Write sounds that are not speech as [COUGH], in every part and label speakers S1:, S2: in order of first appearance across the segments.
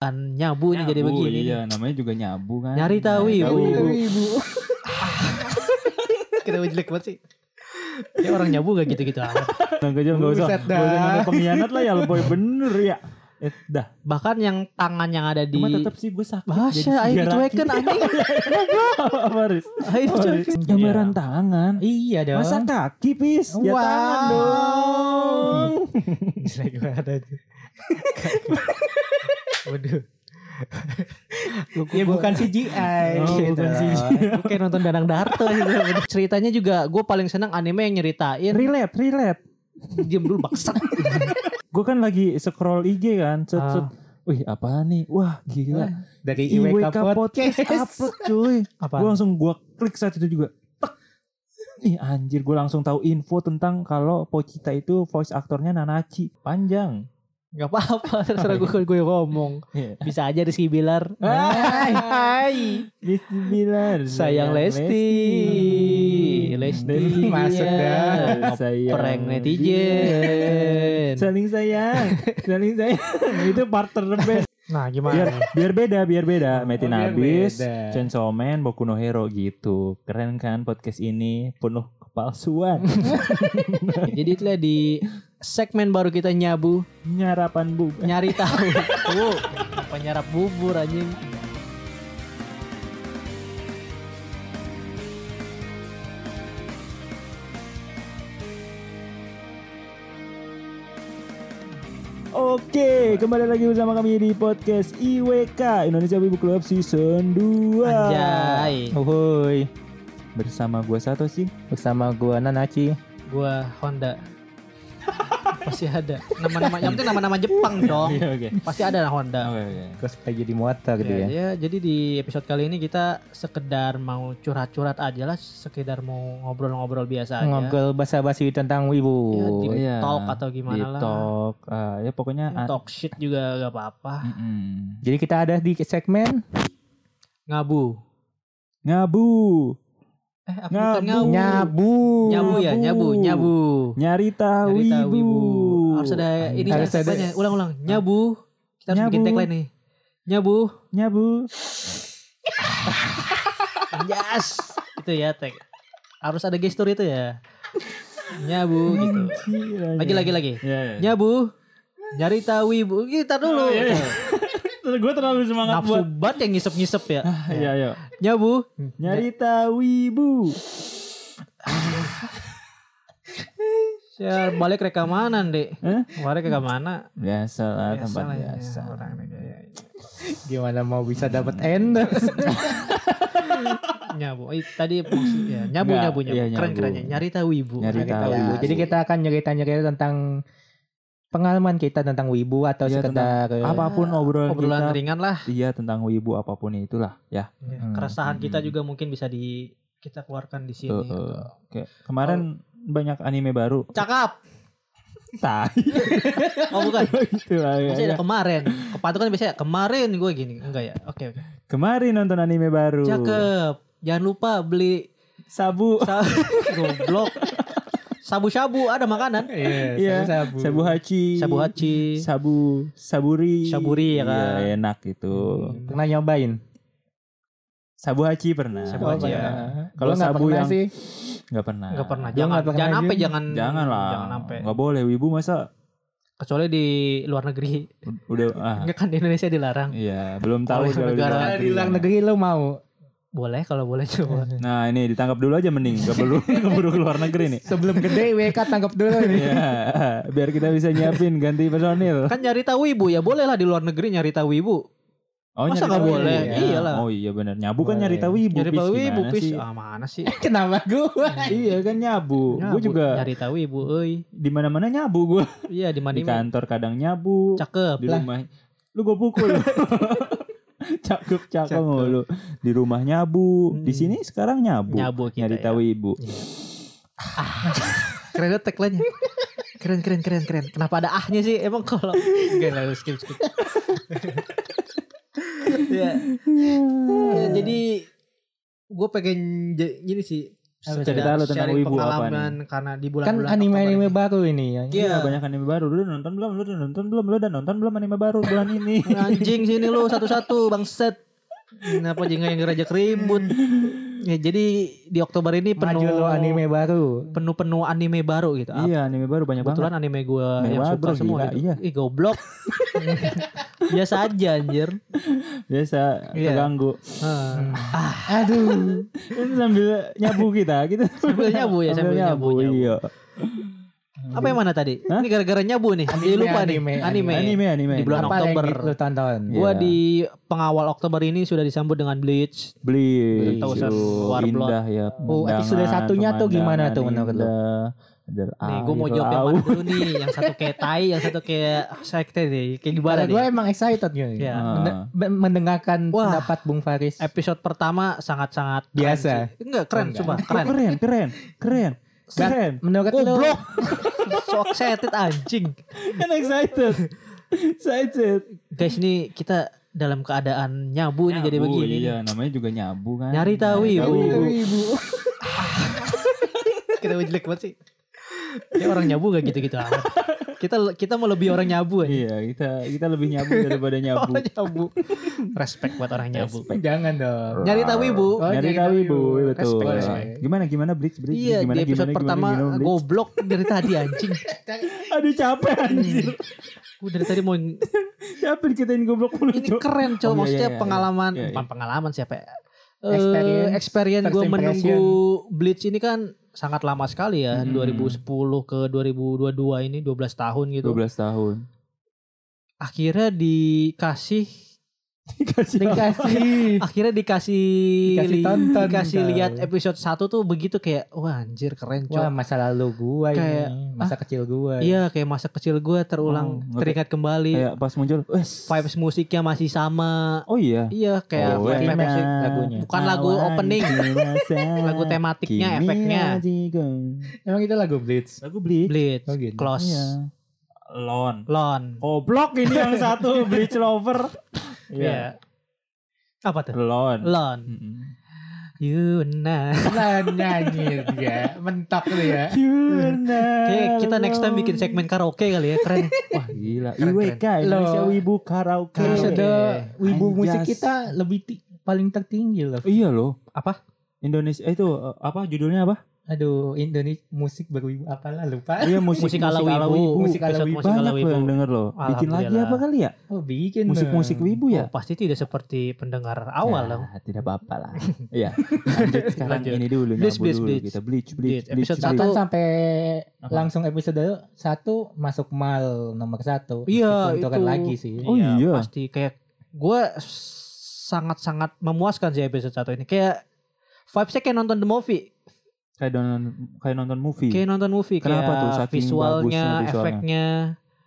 S1: kan nyabu, nih jadi
S2: Nyabu,
S1: begini.
S2: Iya, namanya juga nyabu kan.
S1: Nyari tahu,
S2: Nyari
S1: Ibu.
S2: tahu.
S3: ibu.
S1: Kenapa jelek banget sih? Ya orang nyabu gak gitu-gitu amat.
S2: Nang kejam enggak usah.
S3: Buset
S2: Enggak usah
S3: dah.
S2: nyampe pengkhianat lah ya lo boy bener ya. Eh, dah.
S1: Bahkan yang tangan yang ada di
S2: Cuma tetap sih gue sakit.
S1: Bahasa ayo dicuekin anjing.
S2: Apa Riz?
S1: Ayo dicuekin.
S2: Iya. Gambaran tangan.
S1: Iya dong.
S2: Oh, Masa kaki pis? Ya
S1: Wow.
S2: tangan dong.
S1: [LAUGHS] Jelek banget aja. Waduh.
S3: ya bukan CGI.
S2: Oh,
S3: gitu.
S2: bukan CGI.
S1: Oke nonton Danang Darto gitu. Ceritanya juga gue paling seneng anime yang nyeritain
S2: Relap, relap.
S1: diam dulu bangsat.
S2: Gue kan lagi scroll IG kan. Cet, cet. Wih apa nih? Wah gila.
S3: Dari
S2: IWK
S3: IWK
S2: Podcast
S3: Podcast.
S2: upload cuy. Gue
S1: Apa?
S2: langsung gue klik saat itu juga. Tek. Ih anjir gue langsung tahu info tentang kalau Pochita itu voice aktornya Nanachi. Panjang.
S1: Gak apa-apa [LAUGHS] terserah gue gue ngomong.
S2: Iya.
S1: Bisa aja Rizky Bilar.
S2: Hai.
S1: Hai.
S2: Lesti Bilar.
S1: Sayang Lesti. Lesti.
S2: Lesti
S3: Masuk dah.
S2: Bilar. Sayang.
S1: Prank netizen.
S2: Saling sayang. Saling sayang. itu part terbest.
S1: Nah
S2: biar
S1: gimana?
S2: biar beda biar beda Metin
S3: biar
S2: Abis
S3: beda.
S2: Chainsaw Man Boku no Hero gitu keren kan podcast ini penuh kepalsuan
S1: Iya, Jadi itulah di segmen baru kita nyabu
S2: nyarapan bu
S1: nyari tahu. Tuh, apa nyarap bubur anjing.
S2: Oke, kembali lagi bersama kami di podcast IWK Indonesia Wibu Club Season 2.
S1: Anjay.
S2: Woi. Bersama gua Sato sih. Bersama gua Nanachi.
S1: Gua Honda. Pasti ada. Nama-nama yang penting nama-nama Jepang dong.
S2: Iya, oke.
S1: Pasti ada lah Honda.
S2: Oke, oke.
S3: Cosplay jadi muata gitu
S1: Ya,
S3: ya.
S1: ya, jadi di episode kali ini kita sekedar mau curhat-curhat aja lah, sekedar mau ngobrol-ngobrol biasa aja.
S3: Ngobrol basa-basi
S1: Ya,
S3: tentang wibu.
S1: di
S2: Iya.
S1: talk atau gimana
S2: Di
S1: lah.
S2: talk, eh, ya pokoknya
S1: Ini Talk shit juga gak apa-apa.
S2: Mm-mm.
S3: Jadi kita ada di segmen
S1: Ngabu.
S2: Ngabu,
S1: Eh, apa
S2: Ngabu.
S1: bukan ngabu?
S3: nyabu.
S1: Nyabu ya, nyabu,
S2: Nyabu.
S1: nyabu.
S2: nyari tahu
S1: Nyari tahu
S2: Wibu.
S1: ibu. Harus ada ini
S3: Harus
S1: harus
S3: ada.
S1: Ulang-ulang. Nyabu. Kita harus bikin
S2: Nyabu.
S1: tagline nih. Nyabu.
S2: Nyabu.
S1: Yes. itu ya tag. Harus ada gestur itu ya. Nyabu gitu. [LAUGHS] Lagi lagi lagi.
S2: Ya, ya.
S1: Nyabu. Nyari tahu ibu. Kita dulu.
S2: Gue terlalu semangat
S1: Nafsu
S2: Oh, iya, buat.
S1: banget yang ngisep-ngisep ya.
S2: Iya, iya.
S1: Nyabu.
S2: Nyari tahu Wibu.
S1: Ya, balik rekaman, Dek.
S2: Hah?
S1: Balik ke mana?
S2: Biasa lah,
S1: Biasa
S2: tempat
S1: lah ya,
S2: biasa.
S1: orang ya.
S3: Gimana mau bisa dapat endorse?
S1: Nyabu. Eh, tadi maksudnya nyabu
S2: Enggak,
S1: nyabu nyabu.
S2: iya, nyabu.
S1: Keren kerennya. Nyari tahu ibu.
S2: Nyari
S3: Kita
S2: tahu.
S3: wibu. Jadi kita akan nyerita-nyerita tentang pengalaman kita tentang wibu atau
S2: Iya,
S3: sekedar eh,
S2: Apapun
S1: Eh,
S2: obrolan,
S1: Obrolan
S2: kita,
S1: ringan lah.
S2: iya tentang wibu apapun itulah ya.
S3: Hmm.
S1: Keresahan kita
S2: Hmm.
S1: juga mungkin bisa di kita keluarkan di sini.
S2: Tuh, uh, Oke, kemarin banyak anime baru. [LAUGHS]
S1: Cakap.
S2: Tai.
S1: Oh
S2: [LAUGHS]
S1: bukan.
S2: Gitu lah, ya,
S1: Biasanya
S2: ya.
S1: ada kemarin. Kepatu kan biasanya kemarin gue gini. Enggak ya. Oke oke.
S2: Kemarin nonton anime baru.
S1: Cakep. Jangan lupa beli
S2: Sabu.
S1: sa- [LAUGHS] goblok. Sabu-sabu ada makanan.
S2: Iya.
S3: Iya, sabu.
S2: Sabu Hachi.
S1: Sabu hachi.
S2: Sabu Saburi.
S1: Saburi, ya kan? Hmm.
S2: Iya, enak itu.
S3: Pernah nyobain? Iya.
S2: Sabu Hachi pernah.
S1: Sabu Hachi, ya.
S2: Kalau
S3: Gua nggak
S2: sabu
S3: pernah
S2: yang
S3: sih.
S2: nggak pernah.
S1: Enggak pernah.
S3: Gua
S1: Jangan
S3: nggak pernah
S1: jangan sampai
S3: juga.
S1: jangan
S2: Jangan lah.
S1: Jangan sampai.
S2: Nggak boleh wibu masa
S1: Kecuali di luar negeri.
S2: udah ah.
S1: [LAUGHS] Enggak kan di Indonesia dilarang.
S2: Iya, belum tahu
S1: Oleh
S2: kalau di
S1: negara.
S2: luar
S3: Kalau
S2: negeri.
S3: di luar negeri lu mau
S1: Boleh kalau boleh coba.
S2: Nah, ini ditangkap dulu aja mending, [LAUGHS] keburu keburu keluar negeri nih.
S3: sebelum gede WK tangkap dulu
S2: [LAUGHS]
S3: nih.
S2: Iya, biar kita bisa nyiapin ganti personil.
S1: kan nyari tahu ibu ya boleh lah di luar negeri nyari tahu ibu.
S2: Oh,
S1: Masa
S2: nyari
S1: nggak
S2: tahu
S1: boleh?
S2: ibu.
S1: Iyalah.
S2: Oh iya benar. Nyabu kan
S3: Boleh.
S2: nyari tahu ibu.
S1: nyari
S2: Pis.
S1: tahu ibu
S2: Gimana
S1: pis.
S2: sih?
S1: Ah mana sih?
S3: Kenapa gua?
S2: Iya kan nyabu.
S1: Ya,
S2: gue
S1: Bu,
S2: juga
S1: nyari tahu ibu, euy.
S2: di mana-mana nyabu gue.
S1: Iya di
S2: Di
S1: mana
S2: kantor kadang nyabu,
S1: Cakep.
S2: di
S3: Lah.
S2: rumah. Lu gue pukul. [LAUGHS] lu. cakep cakep
S3: Cakep.
S2: nggak lu. Di rumah nyabu, di sini sekarang nyabu.
S1: Hmm. Nyabu kita,
S2: nyari
S1: ya.
S2: tahu ibu.
S1: Keren banget tagline-nya. Keren keren keren keren. Kenapa ada ahnya sih? Emang kalau enggak lah skip skip. Iya. ya. Ya, jadi gue pengen ja- gini sih
S2: Apa
S1: sekedar
S2: cerita lu tentang
S1: sharing
S2: Wibu apa
S1: pengalaman karena di bulan-bulan
S3: Kan anime-anime
S1: Oktober
S3: baru ini ya.
S1: ini. Iya,
S2: banyak anime baru lu udah nonton belum lu udah nonton belum lu udah nonton belum anime baru bulan ini
S1: [LAUGHS] anjing sini lu satu-satu bangset. Kenapa jengah yang gerajak ribut? Ya, jadi di Oktober ini
S3: Maju
S1: penuh
S3: lo anime baru.
S1: penuh-penuh anime baru gitu.
S2: iya anime baru banyak banget
S1: Kebetulan anime gue
S2: Anime
S1: yang
S2: baru,
S1: suka semua
S2: gila,
S1: gitu.
S2: iya.
S1: Ih goblok. [LAUGHS] Biasa aja anjir.
S2: biasa
S1: Iya.
S2: terganggu
S1: Heeh.
S3: Ah, Aduh.
S2: Ini sambil nyabu kita gitu
S1: Sambil nyabu ya, sambil nyabu, nyabu.
S2: iya
S1: Apa yang mana tadi?
S2: Hmm. Hah?
S1: Ini gara-gara nyabu nih. Jadi
S3: Anime,
S1: lupa
S3: anime,
S1: nih. Anime.
S2: anime anime
S1: Di bulan
S3: Apa yang
S1: Oktober.
S3: di- lu tonton?
S2: Iya.
S1: Gua di pengawal Oktober ini sudah disambut dengan Bleach.
S2: beli
S1: Thousand Warlord.
S2: indah ya
S3: Oh, episode
S2: pemandangan,
S3: satunya tuh gimana tuh
S2: pemandangan
S3: menurut lu?
S2: indah. Ada
S1: Nih, gue mau
S2: air
S1: jawab yang
S2: laut.
S1: mana dulu nih? Yang satu kayak tai, yang satu kayak sekte deh. Kayak gimana
S3: Karena
S1: nih?
S3: gue emang excited gitu.
S1: Ya.
S3: Mende- be- mendengarkan
S1: Wah.
S3: pendapat Bung Faris.
S1: Episode pertama sangat-sangat keren
S3: Biasa.
S1: sih. Enggak keren,
S3: Enggak.
S1: coba
S2: Oh,
S1: keren.
S2: keren keren keren keren
S3: Menurut lu
S1: Goblok. [LAUGHS] so excited anjing.
S2: kan excited excited
S1: Guys, ini kita dalam keadaan nyabu nih jadi
S2: Nyabu,
S1: begini.
S2: iya namanya juga nyabu kan
S1: Nyari tahu,
S2: Nyari
S1: ibu.
S3: Iya,
S2: tahu.
S1: kita jelek banget sih. Ya orang nyabu gak gitu-gitu amat. Kita kita mau lebih orang nyabu aja.
S2: iya kita kita lebih nyabu
S1: [LAUGHS]
S2: daripada nyabu
S1: Orang nyabu. Respect buat orang nyabu.
S2: Respect.
S3: [LAUGHS] Jangan dong.
S1: Nyari tahu ibu.
S3: Oh,
S2: nyari tahu
S3: nyari tahu,
S2: ibu
S3: ibu.
S2: betul
S3: Respect, respect.
S2: gimana gimana Blitz Blitz
S1: Iya,
S2: gimana
S1: di episode pertama
S2: Blitz?
S1: goblok dari tadi anjing.
S2: aduh capek anjir
S1: Gue dari tadi mau ini
S2: capek dikitain goblok mulu Cok.
S1: keren
S2: Oh,
S1: coba
S2: iya,
S1: maksudnya
S2: iya, iya.
S1: pengalaman
S2: Iya, iya.
S1: bukan pengalaman siapa ya? Eh,
S3: Experience.
S1: experience
S3: First
S1: gue
S3: impression.
S1: menunggu Bleach ini kan sangat lama sekali ya
S2: Hmm.
S1: 2010 ke 2022 ini 12 tahun gitu
S2: 12 tahun
S1: akhirnya dikasih
S2: dikasih
S1: [LAUGHS]
S3: Dikasih.
S1: akhirnya dikasih
S3: Dikasih
S1: li-
S3: tonton,
S1: dikasih
S3: tau.
S1: lihat episode 1 tuh begitu kayak wah anjir keren
S3: Wah
S1: coy
S3: masa lalu gua
S1: Kayak,
S3: ini. Masa kecil gua.
S1: iya kayak masa kecil gue terulang
S2: Oh, ngerti.
S1: teringat kembali
S2: kayak pas muncul wes
S1: vibes musiknya masih sama
S2: oh iya
S1: iya kayak
S2: Oh,
S1: vibes
S2: enak.
S1: musik
S3: lagunya.
S1: Bukan lagu
S2: Awalnya
S1: opening.
S2: dirasa
S1: [LAUGHS] lagu tematiknya
S2: kimi
S1: efeknya
S2: ajigo.
S3: Emang itu lagu Blitz?
S2: lagu Blitz
S1: Bleach
S3: Oh, gitu.
S1: Close
S2: Iya. Oh, lon
S1: Lon
S2: Goblok ini yang satu Bleach Lover.
S1: Iya. apa tuh
S2: Lon.
S1: Lon You nah
S3: Nah nyanyi dia. Mentok tuh ya.
S1: Oke, kita next time bikin segmen karaoke kali ya keren
S2: Wah gila.
S1: Keren,
S2: IWK Indonesia
S3: Lon.
S2: Wibu Karaoke.
S1: Karaoke. Iya,
S3: Episode wibu
S2: Anjas.
S3: musik kita lebih ti- paling tertinggi loh.
S2: Iya loh.
S1: Apa?
S2: Indonesia eh, itu eh, apa judulnya apa?
S3: Aduh, Indonesia musik berwibu apalah lupa.
S1: Eh,
S2: Iya
S1: musik ala wibu
S3: Musik ala
S1: Episode
S3: wibu.
S1: musik ala
S2: Banyak loh
S1: wibu
S2: yang denger loh. Bikin lagi
S1: Alhamdulillah.
S2: apa kali ya?
S3: Oh, bikin.
S2: Musik-musik
S3: dong.
S2: wibu ya?
S1: Oh, pasti tidak seperti pendengar Oh, awal
S2: Ya,
S1: dong
S2: Tidak apa-apa
S1: [LAUGHS]
S2: lah. Iya. Lanjut sekarang
S1: Lanjut.
S2: ini dulu
S1: Bleach,
S2: nyabu
S1: Bleach,
S2: dulu
S1: Bleach.
S2: kita bleach bleach
S1: Bleach, episode
S2: bleach,
S1: satu.
S3: Bahkan
S2: bleach.
S3: Kan sampai
S2: Apa?
S3: langsung episode satu masuk mal nomor satu.
S1: Iya,
S3: Meskipun itu kan
S1: itu.
S3: lagi sih.
S2: Oh, iya.
S1: Pasti kayak gue sangat-sangat memuaskan sih episode satu ini. Kayak vibesnya kayak nonton the movie,
S2: Kayak nonton kayak nonton movie.
S1: kayak nonton movie.
S2: Kenapa
S1: kayak
S2: tuh? Saking
S1: visualnya,
S2: bagusnya visualnya.
S1: efeknya.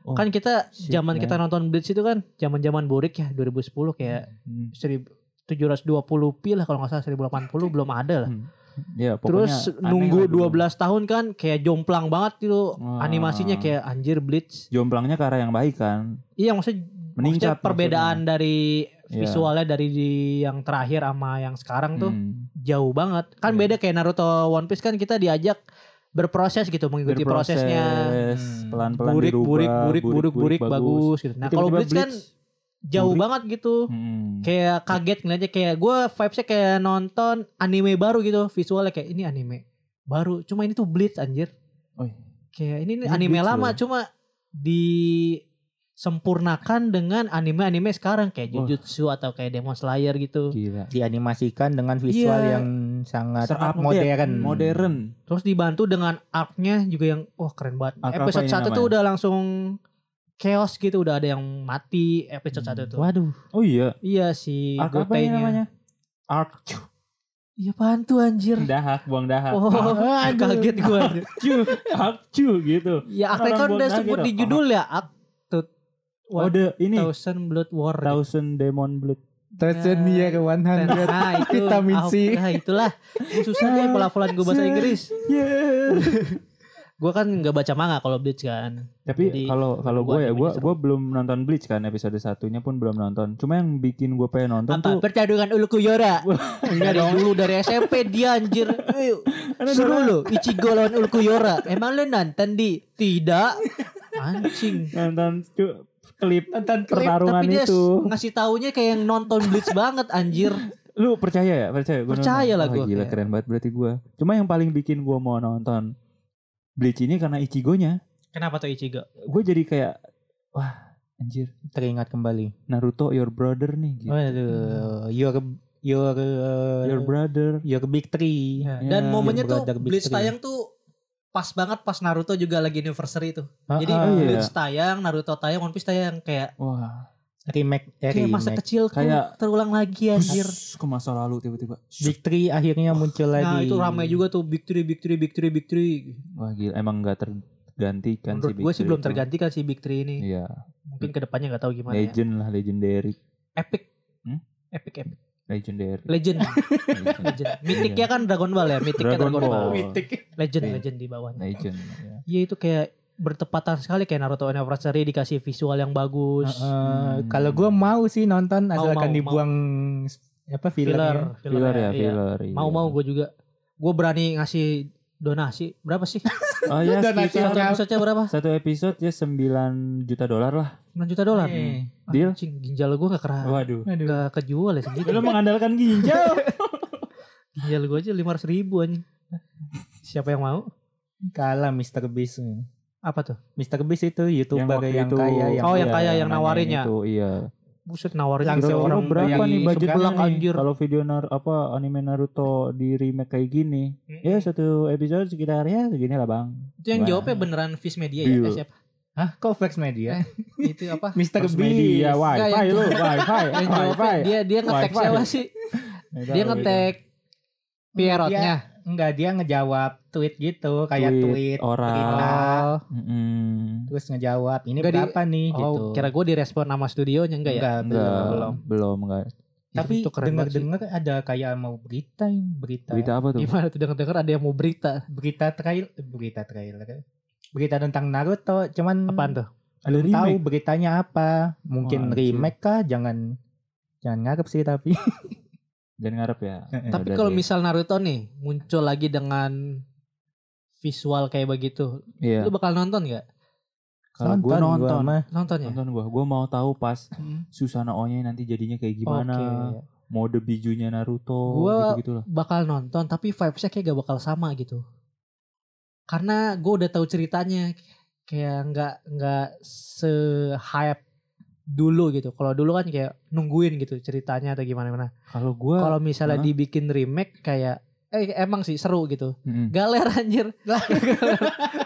S2: Oh,
S1: kan kita
S2: shit,
S1: zaman
S2: man.
S1: kita nonton Blitz itu kan zaman-zaman burik ya 2010 kayak
S2: Hmm.
S1: 1720 p lah kalau nggak salah 1080 belum ada lah.
S2: Hmm. Ya, pokoknya
S1: Terus
S2: aneh lah
S1: nunggu
S2: dulu.
S1: 12 tahun kan kayak jomplang banget gitu
S2: Wah.
S1: animasinya kayak anjir Blitz.
S2: Jomplangnya ke arah yang baik kan.
S1: Iya maksudnya maksudnya
S2: Meningkat
S1: perbedaan dari
S2: Iya.
S1: visualnya dari di yang terakhir sama yang sekarang tuh
S2: Hmm.
S1: jauh banget. Kan
S2: Iya.
S1: beda kayak Naruto One Piece kan kita diajak berproses gitu mengikuti
S2: Berproses,
S1: prosesnya.
S3: Hmm.
S2: pelan-pelan
S1: Burik,
S2: dirubah,
S1: burik, burik, burik, burik, bagus. gitu. Nah,
S2: Tiba-tiba
S1: kalau Blitz kan jauh
S2: burik.
S1: banget gitu.
S2: Hmm.
S1: Kayak kaget ngeliatnya kayak gue vibesnya kayak nonton anime baru gitu. Visualnya kayak ini anime baru. Cuma ini tuh Blitz anjir.
S2: Oh, iya.
S1: Kayak ini,
S2: Ini
S1: anime
S2: Blitz
S1: lama
S2: loh.
S1: cuma disempurnakan dengan anime-anime sekarang kayak
S2: Wah.
S1: Jujutsu atau kayak Demon Slayer gitu.
S2: gila.
S3: Dianimasikan dengan visual
S1: Iya.
S3: yang sangat
S2: Serupdate,
S3: modern.
S2: Modern.
S1: Terus dibantu dengan arc-nya juga yang wah keren banget.
S2: Arc apa
S1: episode
S2: ini
S1: 1 tuh
S2: namanya?
S1: udah langsung chaos gitu, udah ada yang mati episode 1 tuh.
S3: Waduh.
S2: Oh iya.
S1: Iya si
S2: Arc apa ini
S1: Gotei-nya.
S2: namanya? Arc.
S1: Iya apaan tuh anjir.
S2: Dahak, buang dahak.
S1: [LAUGHS] Oh,
S3: Aduh.
S1: kaget gua.
S2: Cu, arc cu gitu.
S1: ya
S2: Orang
S1: arc kan
S2: buat
S1: udah
S2: nugget
S1: sebut di
S2: dong.
S1: judul ya, Arc to
S2: Oh, the, ini
S1: Thousand Blood War.
S2: Thousand Demon Blood.
S3: Thousand
S1: Ya.
S3: year one
S2: kan?
S3: hundred.
S1: [LAUGHS] Nah, itu
S3: Vitamin
S1: ah,
S3: C.
S1: Nah, itulah. Susah deh pelafalan gue bahasa Inggris.
S2: Yeah.
S1: Gue kan nggak baca manga kalau Bleach kan.
S2: Tapi
S1: Jadi,
S2: kalau kalau
S1: gua
S2: gue ya
S1: animenya
S2: gue
S1: seru.
S2: gue belum nonton Bleach kan episode satunya pun belum nonton. Cuma yang bikin gue pengen nonton
S1: Apa?
S2: tuh
S1: Pertarungan Ulu
S2: [LAUGHS]
S1: Kuyora. dari dulu dari SMP dia anjir. Ayo, Seru lo Ichigo lawan Ulu Kuyora. Emang lo nonton di? Tidak. Anjing.
S2: nonton cu- klip
S3: Nonton
S1: Klip,
S2: [LAUGHS] pertarungan
S1: tapi dia
S2: itu.
S1: ngasih taunya kayak yang nonton Bleach banget anjir.
S2: Lu percaya ya? Percaya gua
S1: Percaya
S2: nonton.
S1: lah
S2: Wah,
S1: gua, Iya.
S2: Gila
S1: kayak.
S2: keren banget berarti gue. Cuma yang paling bikin gue mau nonton Bleach ini karena Ichigo-nya.
S1: Kenapa tuh Ichigo?
S2: Gue jadi kayak wah anjir
S3: Teringat kembali.
S2: Naruto your brother nih gitu.
S3: Waduh, your your
S2: Your brother.
S3: your big three.
S1: Dan
S2: Ya,
S1: momennya
S3: yang
S1: tuh
S3: beradab
S1: Bleach
S3: Bleach
S1: tayang tuh pas banget pas Naruto juga lagi anniversary tuh. Jadi
S3: Ah,
S2: iya.
S1: Bleach tayang, Naruto tayang, One Piece tayang kayak
S2: Wah,
S3: ah, remake, eh,
S1: kayak masa
S3: remake.
S1: kecil kan
S2: Kayak-
S1: terulang lagi anjir.
S2: Shhh, ke masa lalu tiba-tiba.
S3: Big Three akhirnya muncul
S1: Nah
S3: lagi.
S1: itu ramai juga tuh Big Three, Big Three, Big Three, Big Three.
S2: Wah gila emang gak tergantikan
S1: Menurut
S2: Big
S1: gue sih
S2: Three
S1: belum
S2: itu.
S1: tergantikan sih Big Three ini.
S2: Iya,
S1: Mungkin kedepannya nggak tahu gimana. ya.
S2: legend lah legendary.
S1: Epic.
S2: Hmm?
S1: Epic, epic.
S2: Legendary.
S1: [LAUGHS]
S2: [LAUGHS]
S1: Legend, legend. Mythicnya kan Dragon Ball ya, mythicnya
S2: Dragon
S1: Dragon, Ball.
S2: Ball.
S1: Legend,
S2: Iya.
S1: legend di bawahnya.
S2: Legend. ya.
S1: Iya itu kayak bertepatan sekali kayak Naruto Anniversary dikasih visual yang bagus.
S3: Heeh, Kalau gue mau sih
S1: hmm.
S3: nonton
S1: Mau,
S3: asalkan
S1: mau,
S3: dibuang apa fillernya.
S1: filler,
S2: Filler ya,
S1: iya.
S2: filler.
S1: Mau mau gue juga. Gue berani ngasih donasi berapa sih?
S2: Oh
S1: [LAUGHS]
S2: ya,
S3: Donasi
S1: Satu
S2: sekitar
S3: orang.
S1: episode berapa?
S2: satu episode ya 9 juta dolar lah.
S1: 9 juta dolar.
S3: Eh,
S2: Deal.
S1: Anjing, ginjal gue gak kera [LAUGHS]
S2: Waduh.
S3: Aduh.
S1: gak kejual ya segitu.
S2: Lu mengandalkan ginjal.
S1: Ginjal gue aja 500 ribu anjing. Siapa yang mau?
S3: Kalah Mr. Beast.
S1: Apa tuh?
S3: Mr. Beast itu youtuber
S2: waktu
S3: yang,
S2: itu-
S3: kaya yang
S1: Oh, yang
S2: iya,
S1: kaya, yang
S2: nanyain
S1: nawarinnya.
S2: Itu, iya.
S1: Buset nawarin
S3: Langsung
S1: gitu.
S2: Kira-kira
S3: orang
S2: berapa
S3: yang
S2: nih budgetnya
S1: sebelah,
S2: nih?
S1: anjir.
S2: Kalau video nar apa anime Naruto di remake kayak gini.
S1: Mm-mm.
S2: Ya satu episode sekitar ya segini lah bang.
S1: Itu yang
S2: Wah.
S1: jawabnya beneran Fish Media ya?
S2: Iya.
S1: Eh, siapa?
S3: Hah, kok Flex Media?
S1: Itu apa?
S3: Mr.
S2: Terus
S3: Beast.
S2: media, wifi
S1: Eh. [LAUGHS] yang-
S2: lu, wifi, Gitu,
S1: yang
S2: wifi.
S1: jawabnya dia dia ngetek
S2: Wifi.
S1: siapa sih? Dia ngetek Pierrotnya.
S3: Enggak, dia ngejawab tweet gitu, kayak tweet,
S2: orang.
S3: berita,
S2: Mm-mm.
S3: terus ngejawab ini
S1: Enggak, di-
S3: berapa nih gitu.
S1: Oh, kira gue direspon nama studionya enggak ya?
S3: Enggak,
S2: Enggak,
S3: belum.
S2: belum, belum enggak.
S3: Tapi
S1: Itu keren banget sih.
S3: dengar-dengar ada kayak mau berita ini, berita
S2: Berita apa tuh?
S1: Gimana tuh denger-denger ada yang mau berita
S3: berita trail eh, berita trailer berita tentang Naruto cuman
S1: apaan tuh?
S2: Ada
S3: belum tahu beritanya apa mungkin
S2: Wah, Oh, anjir.
S3: remake kah jangan jangan ngarep sih tapi
S2: Jangan ngarep ya.
S1: Tapi
S2: Udah
S1: kalau
S2: deh.
S1: misal Naruto nih muncul lagi dengan visual kayak begitu,
S2: Iya.
S1: lu bakal nonton nggak?
S2: [LAUGHS] Kalau gue
S3: gua
S2: nonton,
S3: mah.
S1: Nonton ya?
S2: nonton gue, gue mau tahu pas
S1: Hmm.
S2: Susana Onya nanti jadinya kayak gimana,
S1: Oke.
S2: mode bijunya Naruto,
S1: Gua-
S2: gitu gitu lah.
S1: Bakal nonton tapi vibesnya kayak gak bakal sama gitu. Karena gue udah tahu ceritanya kayak nggak nggak se hype dulu gitu. Kalau dulu kan kayak nungguin gitu ceritanya atau gimana gimana.
S2: Kalau gue,
S1: Kalau misalnya
S2: Hah?
S1: dibikin remake kayak eh emang sih seru gitu.
S2: Mm-mm.
S1: Galer anjir. [LAUGHS] Galer.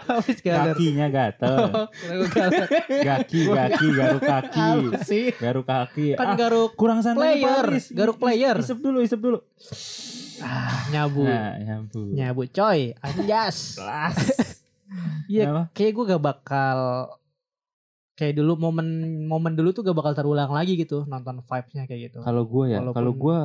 S1: Habis galer.
S2: kakinya gatel,
S1: [LAUGHS] Kira gua galer.
S2: gaki gaki garuk kaki,
S3: Apa sih
S2: garuk kaki.
S1: Kan
S2: Ah,
S1: garuk
S2: kurang santai nih,
S1: player,
S2: Paris.
S1: garuk player. Ah,
S2: Isep dulu, isep dulu.
S1: nyabu.
S2: Nah, nyambung.
S1: Nyabu coy, anjas. [LAUGHS] Iya,
S2: Kenapa?
S1: kayak gue gak bakal kayak dulu momen momen dulu tuh gak bakal terulang lagi gitu nonton vibesnya kayak gitu.
S2: Kalau gue ya,
S1: Walaupun-
S2: kalau gue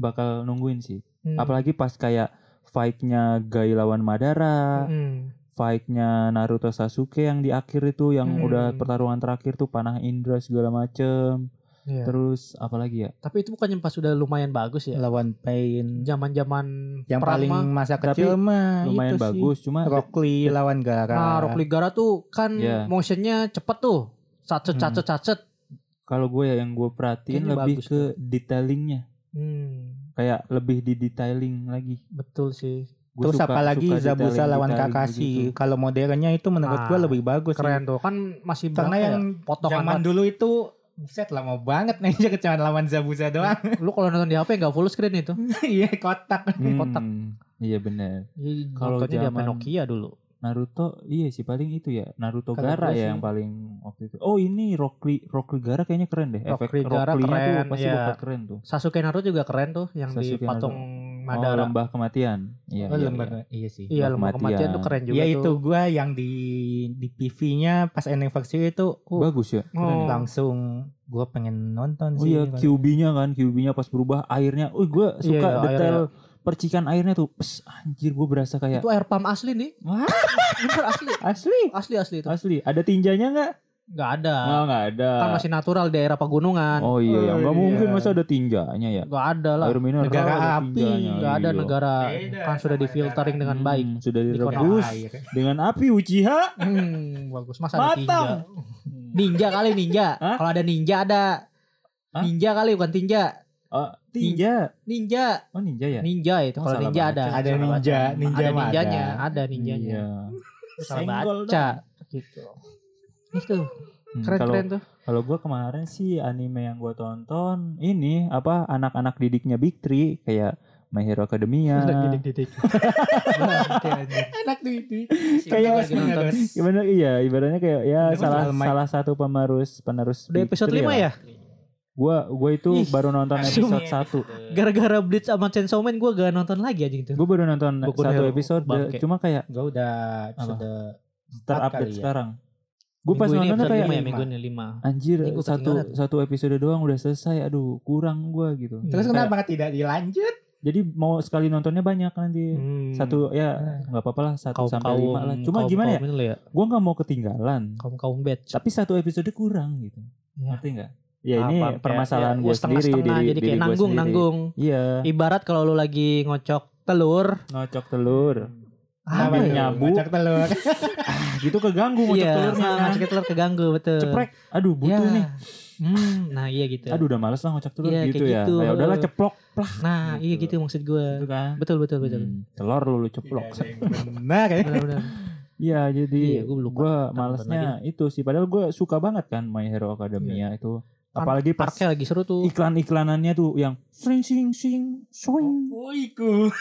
S2: bakal nungguin sih.
S1: Hmm.
S2: Apalagi pas kayak fight-nya Gai lawan Madara,
S1: Hmm.
S2: fight-nya Naruto Sasuke yang di akhir itu yang
S1: Hmm.
S2: udah pertarungan terakhir tuh panah Indra segala macem.
S1: Iya.
S2: Terus apalagi ya?
S1: Tapi itu bukannya pas sudah lumayan bagus ya?
S3: lawan Pain
S1: Zaman-zaman
S3: yang
S1: perang
S3: paling
S1: mah.
S3: masa
S2: Tapi
S3: kecil mah
S2: Lumayan
S3: itu sih.
S2: bagus, Iya. cuma
S3: Rockly lawan Gara
S1: Nah, Rock Ligara tuh kan
S2: Iya.
S1: motionnya cepet tuh. Cacet, cacet,
S3: Hmm.
S1: cacet.
S2: kalau gue ya yang gue perhatiin
S1: Kayaknya
S2: lebih
S1: bagus
S2: ke detailingnya.
S1: Hmm,
S2: Kayak lebih di detailing lagi.
S1: betul sih.
S2: Gua
S3: Terus
S2: suka-
S3: apalagi
S2: suka
S3: Zabuza
S2: detailing-
S3: lawan
S2: detailing
S3: Kakashi.
S2: begitu.
S3: Kalau modernnya itu menurut
S1: Ah,
S3: gua lebih bagus. sih.
S1: Keren tuh. Kan masih
S3: Karena
S1: berapa
S3: yang
S1: ya? potongan
S3: zaman dulu itu buset lama banget nih [LAUGHS] cuma lawan Zabuza doang. [LAUGHS]
S1: lu kalau nonton di HP nggak full screen itu.
S3: Iya kotak.
S2: Hmm,
S1: Kotak.
S2: Iya bener.
S1: Jadi
S2: Kalau
S1: nontonnya di HP
S2: zaman-
S1: Nokia dulu.
S2: Naruto iya sih paling itu ya Naruto
S3: Kalau
S2: Gara
S3: gua sih-
S2: ya yang paling waktu itu oh ini Rockly Rockly Gara kayaknya keren deh efek
S1: Rockly Gara
S2: Rockly-nya tuh
S1: keren,
S2: pasti
S1: iya.
S2: bakal keren tuh
S1: Sasuke Naruto juga keren tuh yang di
S2: Sasuke
S1: patung
S2: oh
S1: Madara.
S2: lembah kematian iya iya,
S3: Oh,
S2: iya.
S3: lembaga. Iya sih.
S1: iya, lembah
S2: Kematian.
S1: kematian tuh keren juga
S3: Ya itu
S1: tuh.
S3: gua yang di di PV-nya pas anniversary itu uh,
S2: bagus ya
S1: Oh.
S2: keren ya.
S3: langsung gua pengen nonton
S2: oh
S3: sih.
S2: iya
S3: kalau-
S2: QB nya kan QB nya pas berubah airnya oh gue suka
S1: Iya, iya,
S2: detail percikan airnya tuh pes, anjir gue berasa
S1: Oh.
S2: kayak
S1: Itu air pump asli nih.
S2: Wah.
S1: Bener asli.
S2: asli
S1: Asli asli itu.
S2: asli ada tinjanya nggak
S1: Enggak ada.
S2: nggak nggak ada
S1: Kan masih natural daerah pegunungan.
S2: oh iya ya
S3: Oh,
S2: nggak mungkin
S3: iya.
S2: masa ada tinjanya ya
S1: Enggak ada lah.
S2: air mineral
S3: Negara
S2: ada
S3: api,
S2: tinjanya,
S1: Enggak ada
S2: iya.
S1: negara
S3: Beda
S1: kan sudah
S3: sama
S1: difiltering
S3: negara.
S1: dengan
S2: Hmm,
S1: baik.
S2: sudah
S1: Dikonak
S2: direbus
S3: air.
S2: dengan api Uchiha
S1: Hmm, bagus. Masa ada tinja?
S2: matang
S1: Ninja kali ninja.
S2: Hah?
S1: Kalau ada ninja ada.
S2: Hah?
S1: Ninja kali bukan tinja.
S2: Oh, tinja
S1: Ninja.
S2: oh ninja ya
S1: Ninja itu
S2: Oh,
S1: kalau
S2: salah
S1: ninja
S2: baca.
S1: ada.
S2: Ada
S1: Salah
S2: ninja,
S1: baca.
S3: ninja
S1: ada
S3: mah
S1: ninjanya,
S3: ada.
S1: ada ninjanya.
S2: Iya.
S1: Salah
S2: Senggol
S1: baca gitu. Itu
S2: Hmm, kalau-
S1: keren-keren tuh.
S2: Kalau gue kemarin sih anime yang gue tonton ini apa anak-anak didiknya Big Three kayak My Hero Academia.
S1: iya.
S3: [LAUGHS] didik.
S1: Enak tuh itu.
S2: Kayak
S1: lagi nonton.
S2: Gimana iya ibaratnya kayak ya
S3: Kenapa
S2: salah
S3: Al Might?
S2: salah satu penerus penerus.
S1: Udah episode 5 ya?
S2: Gue gue itu
S1: Ih, ya.
S2: baru nonton episode
S3: sumpah.
S2: satu.
S1: Gara-gara Blitz sama Chainsaw Man gue gak nonton lagi anjing tuh.
S2: Gue baru nonton
S1: Boku no
S2: satu
S1: Hero.
S2: episode
S1: Bangke.
S2: cuma kayak
S3: Gue udah episode kali
S2: terupdate
S3: ya.
S2: sekarang. Gue pas
S1: Minggu ini
S2: nontonnya
S1: episode
S2: kayak
S1: lima ya,
S3: lima.
S1: minggu ini 5.
S2: anjir
S1: Ini gua
S2: satu
S1: ketinggalan.
S2: satu episode doang udah selesai. Aduh kurang gue gitu.
S3: Terus kenapa tidak dilanjut?
S2: Jadi mau sekali nontonnya banyak nanti.
S1: Hmm.
S2: Satu ya nggak apa-apa lah satu sampai lima lah. Cuma gimana ya?
S1: ya?
S2: gue nggak mau ketinggalan
S1: Kaum kaum batch.
S2: tapi satu episode kurang gitu
S1: Ya.
S2: ngerti nggak ya ini
S3: Apa,
S2: permasalahan
S1: Ya,
S2: gue
S1: setengah-
S2: sendiri
S1: setengah,
S2: diri,
S1: jadi kayak
S2: diri gua
S1: nanggung
S2: sendiri.
S1: nanggung.
S2: iya
S1: Ibarat kalau lu lagi ngocok telur,
S2: ngocok telur
S1: apa
S2: Namanya
S1: ya?
S2: nyabu.
S3: Ngocok telur.
S2: ah, gitu keganggu ngocok
S1: Iya,
S2: telurnya
S1: nah, ngocok telur keganggu betul.
S2: ceprek aduh butuh
S1: Ya.
S2: nih
S1: Hmm, nah iya gitu.
S2: aduh udah males lah ngocok telur
S1: Iya,
S2: gitu
S1: kayak
S2: ya
S1: gitu.
S2: ya udahlah ceplok plah
S1: Nah, iya
S2: Gitu.
S1: gitu maksud gue.
S2: gitu kan
S1: Betul betul betul.
S2: Hmm, telur lu, lu
S3: Tidak
S2: ceplok
S3: ada yang Benar ya.
S1: Benar-benar.
S2: Iya jadi
S1: Iya, gua lupa.
S2: gue
S1: Nonton
S2: malesnya itu sih padahal gue suka banget kan My Hero Academia itu
S1: Kan
S2: apalagi pas
S1: Parknya lagi seru tuh.
S2: iklan-iklanannya tuh yang sing sing sing swing
S3: Woiku.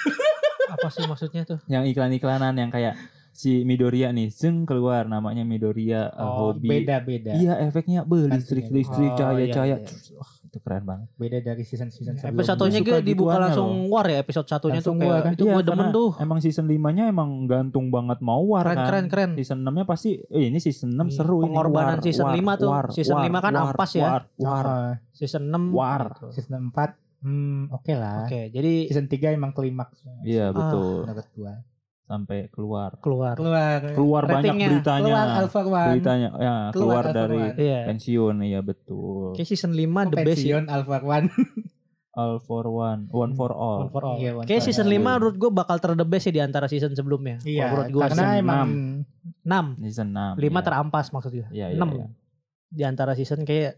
S1: Apa sih maksudnya tuh?
S2: yang iklan-iklanan yang kayak si Midoriya nih zeng keluar namanya Midoriya uh,
S3: Oh,
S2: hobi
S3: beda-beda.
S2: iya efeknya be listrik
S3: Pastinya.
S2: listrik
S1: Oh,
S2: cahaya
S1: iya,
S2: cahaya
S1: iya.
S2: Wah, itu keren banget
S3: Beda dari season-season sebelumnya.
S1: Episode satunya
S2: Suka
S1: gue dibuka
S2: gituannya
S1: langsung war ya episode satunya tuh
S3: Langsung
S1: kayak
S3: war kan?
S1: itu gue
S2: Iya,
S1: demen
S2: karena
S1: tuh.
S2: emang season 5 nya emang gantung banget mau war
S1: Keren
S2: kan
S1: keren keren.
S2: season 6 nya pasti eh, ini season 6
S1: Iya,
S2: seru ini
S1: pengorbanan season lima tuh. Season lima kan ampas ya.
S2: war war
S3: Oh,
S1: Season 6.
S2: war.
S1: gitu.
S3: season 4 hmm oke lah.
S1: Oke, jadi
S3: Season 3 emang klimaks
S1: Ah.
S2: iya betul
S3: menurut gua.
S2: sampai keluar
S1: keluar.
S3: Keluar.
S2: keluar
S1: Iya. Ratingnya.
S2: banyak beritanya
S3: Keluar Alpha One.
S2: beritanya ya keluar,
S3: Alpha
S2: dari
S3: One.
S1: Iya.
S2: pensiun iya betul
S1: Kayak season 5 the best ya.
S3: pensiun Kan Alpha One.
S2: all for one one for
S1: Hmm, One
S2: all
S1: for all.
S3: Iya, one
S1: Kayak
S3: for
S1: season
S3: all.
S1: 5 menurut gue bakal ter the best sih di antara season sebelumnya.
S3: [LAUGHS] Iya,
S1: Kalau menurut gue
S3: karena
S2: season
S3: emang
S2: enam.
S1: 6.
S2: season 6
S1: 5 terampas maksudnya.
S2: Iya, iya,
S1: 6
S2: iya.
S1: di antara season kayak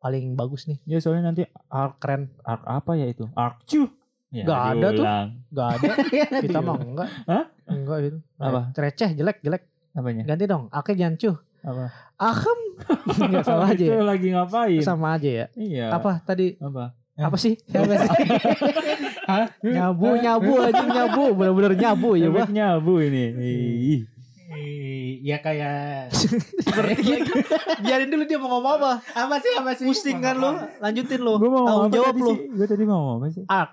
S1: paling bagus nih.
S2: Ya soalnya nanti arc
S1: Keren.
S2: arc apa ya itu? Arc cu. Ya,
S1: Nggak ada tuh.
S2: diulang.
S1: Gak ada. Kita mah enggak.
S2: Hah?
S1: Enggak gitu.
S2: Apa?
S1: Receh, jelek, jelek.
S2: Apanya? [LAUGHS]
S1: Ganti dong. Ake jangan cuh.
S2: Apa?
S1: Ahem. [LAUGHS] Enggak salah aja.
S2: Itu
S1: ya.
S2: gitu lagi ngapain?
S1: Sama aja ya.
S2: Iya.
S1: Apa tadi?
S2: Apa?
S3: Eh.
S1: Apa sih?
S3: Apa [LAUGHS] sih? Hah?
S1: nyabu, nyabu [LAUGHS] aja nyabu. Bener-bener nyabu ya, Pak.
S2: Efek nyabu ini. Ih.
S1: Hmm.
S3: Eh, Ya kayak [LAUGHS]
S1: Seperti itu. [LAUGHS] Biarin dulu dia mau ngomong apa.
S3: apa sih apa sih?
S1: Pusing kan lu, lanjutin lu.
S2: Gua mau
S1: Tanggung
S2: apa
S1: jawab
S2: tadi
S1: lu.
S2: sih? Gua tadi mau ngomong apa sih?
S1: Arc.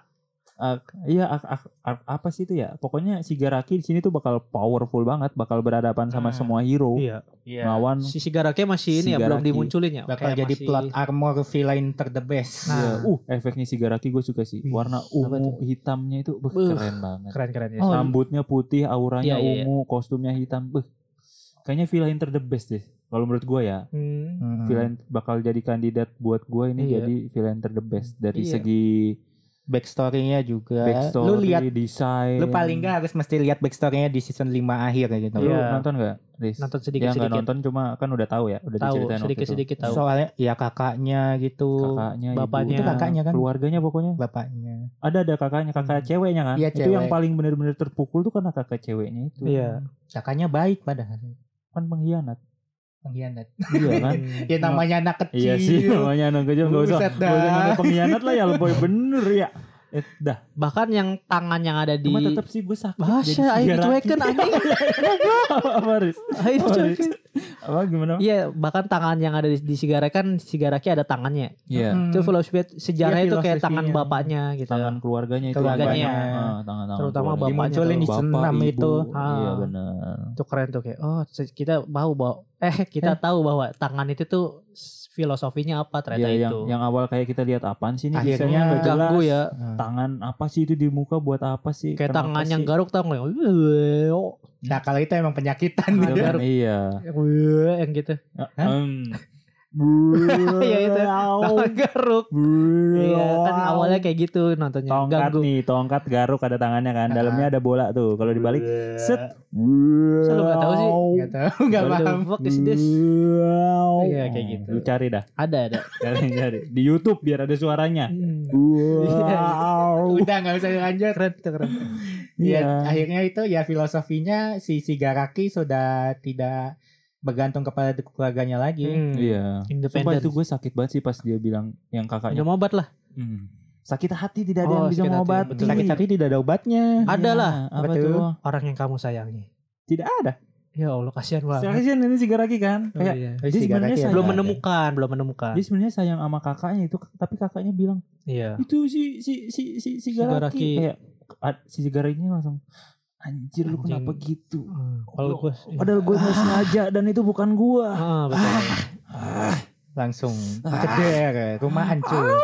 S2: Arc. Iya, arc, arc, arc apa sih itu ya? Pokoknya si Garaki di sini tuh bakal powerful banget, bakal berhadapan sama
S3: Hmm.
S2: semua hero.
S1: Iya.
S3: Iya.
S2: Lawan
S1: Si Sigarake masih ini ya, belum
S2: Sigaraki.
S1: dimunculin ya.
S3: Bakal
S1: Kayak
S3: jadi
S1: masih-
S3: plot armor villain ter the best.
S1: Nah.
S2: Iya. Uh, efeknya si Garaki gue suka sih.
S1: Wih,
S2: Warna
S1: apa
S2: ungu hitamnya itu beh,
S1: Beuh.
S2: keren banget.
S1: Keren-keren ya.
S3: Oh,
S2: Rambutnya putih,
S1: Iya,
S2: auranya
S1: iya, iya.
S2: ungu, kostumnya hitam. Beh. Kayaknya villain ter the best deh. Kalau menurut gue ya,
S1: Hmm.
S3: Hmm.
S2: villain bakal jadi kandidat buat gue ini
S1: Iya.
S2: jadi villain ter the best dari
S1: Iya.
S2: segi
S3: backstory-nya juga.
S2: backstory,
S3: lu lihat
S2: desain.
S3: lu paling nggak harus mesti lihat backstory-nya di season 5 akhir kayak gitu.
S2: Lu
S1: Iya.
S2: nonton gak? Riz?
S1: Nonton
S2: ya nggak
S1: sedikit-sedikit.
S2: nonton cuma kan udah tahu ya, udah
S1: Tahu
S2: diceritain waktu itu.
S1: sedikit-sedikit tahu.
S3: Soalnya ya kakaknya gitu.
S2: Kakaknya,
S1: bapaknya.
S2: ibunya,
S1: Itu
S3: kakaknya kan?
S2: keluarganya pokoknya
S3: Bapaknya.
S2: ada ada kakaknya, kakak ceweknya kan.
S3: Iya,
S2: Itu yang
S3: cewek.
S2: paling bener-bener terpukul tuh karena kakak ceweknya itu.
S1: Iya.
S3: Kakaknya baik padahal.
S2: Kan pengkhianat.
S3: Pengkhianat.
S2: Iya
S1: [LAUGHS]
S2: kan?
S3: Ya namanya anak
S2: Iya
S3: kecil.
S2: sih namanya anak kecil nggak usah
S3: Buset
S2: nggak usah
S3: dah.
S2: nanya pengkhianat lah ya lo boy bener ya. Eh, dah,
S1: [LAUGHS] Bahkan yang tangan yang ada di
S2: cuma tetap sih gue sakit.
S1: Bahasa ayo [LAUGHS]
S2: sejarah.
S1: dicuekin anjing.
S2: [LAUGHS] apa Riz?
S1: Ayo
S2: Apa, Riz?
S1: dicuekin.
S2: Apa gimana?
S1: Iya, bahkan tangan yang ada di, di Shigaraki kan Shigaraki ada tangannya.
S2: Iya.
S3: Hmm.
S1: Itu filosofi sejarahnya
S3: Iya,
S1: itu kayak tangan
S3: filosofinya.
S1: bapaknya gitu.
S2: Tangan keluarganya itu.
S3: Keluarganya.
S2: Ah, tangan-tangan
S1: Terutama
S2: keluarganya.
S1: bapaknya
S2: Dimunculin
S3: tuh.
S2: di
S3: Bapak,
S2: senam
S3: ibu.
S2: itu.
S1: Ah.
S2: Iya benar.
S1: Itu keren tuh kayak oh se- kita tahu bahwa eh [LAUGHS] kita tahu bahwa tangan itu tuh s- filosofinya apa
S2: Iya,
S1: ternyata
S2: yang
S1: itu.
S2: yang awal kayak kita lihat apaan sih ini
S3: Akhirnya
S2: desainnya nggak jelas.
S1: ganggu ya.
S2: Tangan apa sih itu di muka buat apa sih?
S1: Kayak
S2: Kenapa
S1: tangan yang
S2: sih?
S1: garuk tau nggak? Wih, oh,
S3: Nah kalau itu emang penyakitan
S1: Tangan
S2: Gitu
S3: gitu. [LAUGHS]
S2: kan,
S1: garuk.
S2: Iya.
S1: wih, yang gitu.
S3: Hah?
S2: [LAUGHS] Ya
S1: Iya, itu.
S2: Oh.
S1: Tangan [LAUGHS] garuk. Iya, kan awalnya kayak gitu nontonnya.
S2: tongkat
S1: Ganggu.
S2: nih, tongkat garuk ada tangannya kan. Dalamnya ada bola tuh. Kalau dibalik set.
S1: Saya lu nggak tahu sih.
S3: Gak tau, gak
S1: What the
S3: paham.
S1: fuck is this?
S2: Hmm.
S1: Iya, kayak gitu.
S2: Lu cari dah,
S1: Ada ada.
S2: cari cari di YouTube biar ada suaranya. Iya.
S1: Hmm.
S2: Wow.
S3: Udah gak usah lanjut.
S1: Keren tuh
S2: [LAUGHS]
S1: keren. Hmm. Iya.
S2: Iya.
S3: Ya, akhirnya itu ya filosofinya si Shigaraki sudah tidak bergantung kepada keluarganya lagi.
S1: Hmm.
S2: Iya. Sumpah
S1: Independen.
S2: itu gue sakit banget sih pas dia bilang yang kakaknya.
S1: Minum obat lah.
S2: Hmm. Sakit hati tidak ada
S1: Oh,
S2: yang
S1: sakit
S2: bisa
S1: hati,
S2: mengobati.
S1: betul.
S3: Sakit hati tidak ada obatnya.
S1: Ada
S2: Iya,
S1: lah.
S2: Apa
S3: Apa
S2: tuh?
S3: tuh?
S1: Orang yang kamu sayangi.
S2: Tidak ada.
S1: Ya Allah kasihan banget.
S2: Sakitnya ini sigaraki kan.
S1: Oh,
S2: Kayak
S1: iya.
S2: Dia sebenarnya
S3: Shigaraki
S2: sayang.
S1: Belum
S2: Ada.
S1: menemukan, belum menemukan.
S2: dia sebenarnya sayang sama kakaknya itu, tapi kakaknya bilang
S1: Iya.
S2: itu si si si si
S1: Shigaraki.
S2: sigaraki. Kayak ah, si sigaraki langsung anjir lu
S1: Anjing.
S2: kenapa gitu?
S1: Hmm, Kalau
S2: Lu-
S1: gue
S2: Padahal gue nggak sengaja dan itu bukan gua.
S1: Ah, betul.
S3: langsung ceder rumah hancur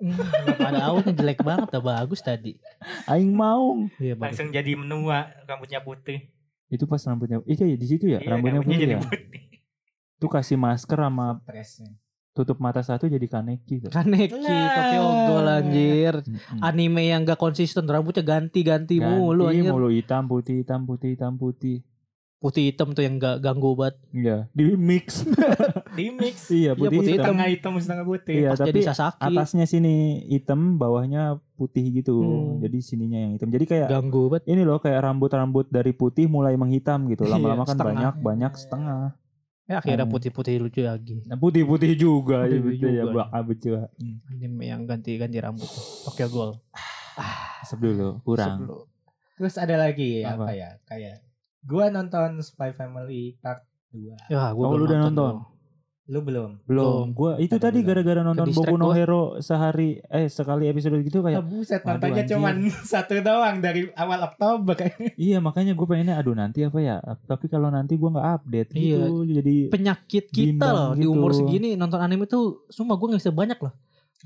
S1: Hmm, Ada awalnya jelek banget, dah bagus tadi.
S2: Aing mau.
S1: Iya bagus.
S4: langsung jadi menua rambutnya putih
S2: Itu pas rambutnya. Itu ya di situ ya,
S4: Iya,
S2: rambutnya putih
S4: jadi
S2: ya.
S4: putih
S2: Tuh kasih masker sama
S3: Stresnya.
S2: tutup mata satu jadi kaneki tuh.
S1: Kaneki,
S4: Lah.
S1: Tokyo Ghoul anjir.
S2: Mm-mm.
S1: Anime yang gak konsisten, rambutnya ganti-ganti
S2: Iya. Ganti
S1: mulu anjir.
S2: mulu hitam putih hitam putih hitam putih.
S1: Putih hitam tuh yang gak ganggu banget.
S2: Iya, di mix.
S4: di mix
S2: iya,
S1: putih,
S2: putih, hitam.
S4: setengah hitam setengah putih
S2: Iya,
S1: Pas jadi
S2: tapi
S1: Sasaki,
S2: atasnya sini hitam, bawahnya putih gitu.
S1: Hmm.
S2: Jadi sininya yang hitam. Jadi kayak
S1: ganggu banget.
S2: ini loh kayak rambut-rambut dari putih mulai menghitam gitu.
S1: Iya,
S2: Lama-lama kan
S1: setengah.
S2: banyak banyak setengah.
S1: Ya akhirnya
S2: Hmm.
S1: putih-putih lucu lagi.
S2: Nah, putih-putih juga
S1: Putih
S2: gitu ya,
S1: juga.
S2: bak- betul. Hmm.
S1: Anime yang ganti-ganti rambut. Tokyo Ghoul.
S2: Asap dulu, kurang.
S1: Sebelum-
S3: terus ada lagi
S2: Apa?
S3: apa, ya kayak gua nonton Spy Family part 2
S1: Ya, gua
S2: Oh,
S1: belum
S2: lu udah nonton?
S1: tuh.
S3: lu belum
S2: Belum. Gua itu
S3: Aduh,
S2: tadi
S3: belum.
S2: gara-gara nonton
S1: Ke-distract
S2: Boku no
S1: gua.
S2: Hero sehari eh sekali episode gitu
S3: Ah,
S2: kayak
S3: buset
S2: Waduh,
S3: nontonnya
S2: anjir.
S3: cuman [LAUGHS] satu doang dari awal Oktober
S2: iya makanya gue pengennya aduh nanti apa ya tapi kalau nanti gua nggak update gitu
S1: Iya.
S2: jadi
S3: Iya.
S1: penyakit kita
S2: Bimbang
S1: loh di
S2: gitu.
S1: umur segini nonton anime tuh semua gue nggak bisa banyak loh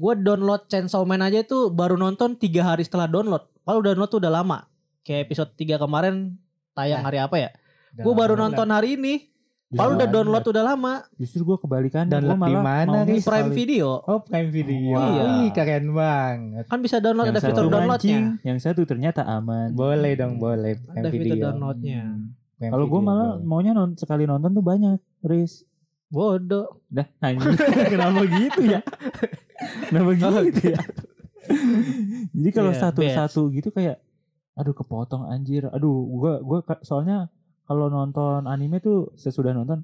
S1: gue download Chainsaw Man aja itu baru nonton tiga hari setelah download kalau download tuh udah lama kayak episode 3 kemarin tayang
S3: Nah.
S1: hari apa ya gue baru nonton hari ini
S2: Justru-
S1: Padahal udah download udah lama
S2: justru gue kebalikan
S3: Dan
S2: gue
S3: lebih mana,
S1: di
S3: Ris?
S1: Prime
S3: Sekali.
S1: Video
S3: oh Prime Video
S2: Wah.
S3: Wih, keren banget
S1: kan bisa download
S2: yang
S1: ada fitur
S2: satu
S1: downloadnya
S2: mancing, yang satu ternyata aman
S3: boleh dong boleh
S1: ada
S3: Prime
S1: fitur
S3: Video Hmm,
S1: downloadnya
S3: Prime
S2: kalau gue
S3: Video
S2: malah
S3: boleh.
S2: maunya non sekali nonton tuh banyak Riz
S1: bodoh
S2: [LAUGHS] dah anjing kenapa gitu ya kenapa gitu ya jadi kalau
S1: Iya,
S2: satu-satu gitu kayak aduh kepotong anjir aduh gue gua ka- soalnya kalau nonton anime tuh sesudah nonton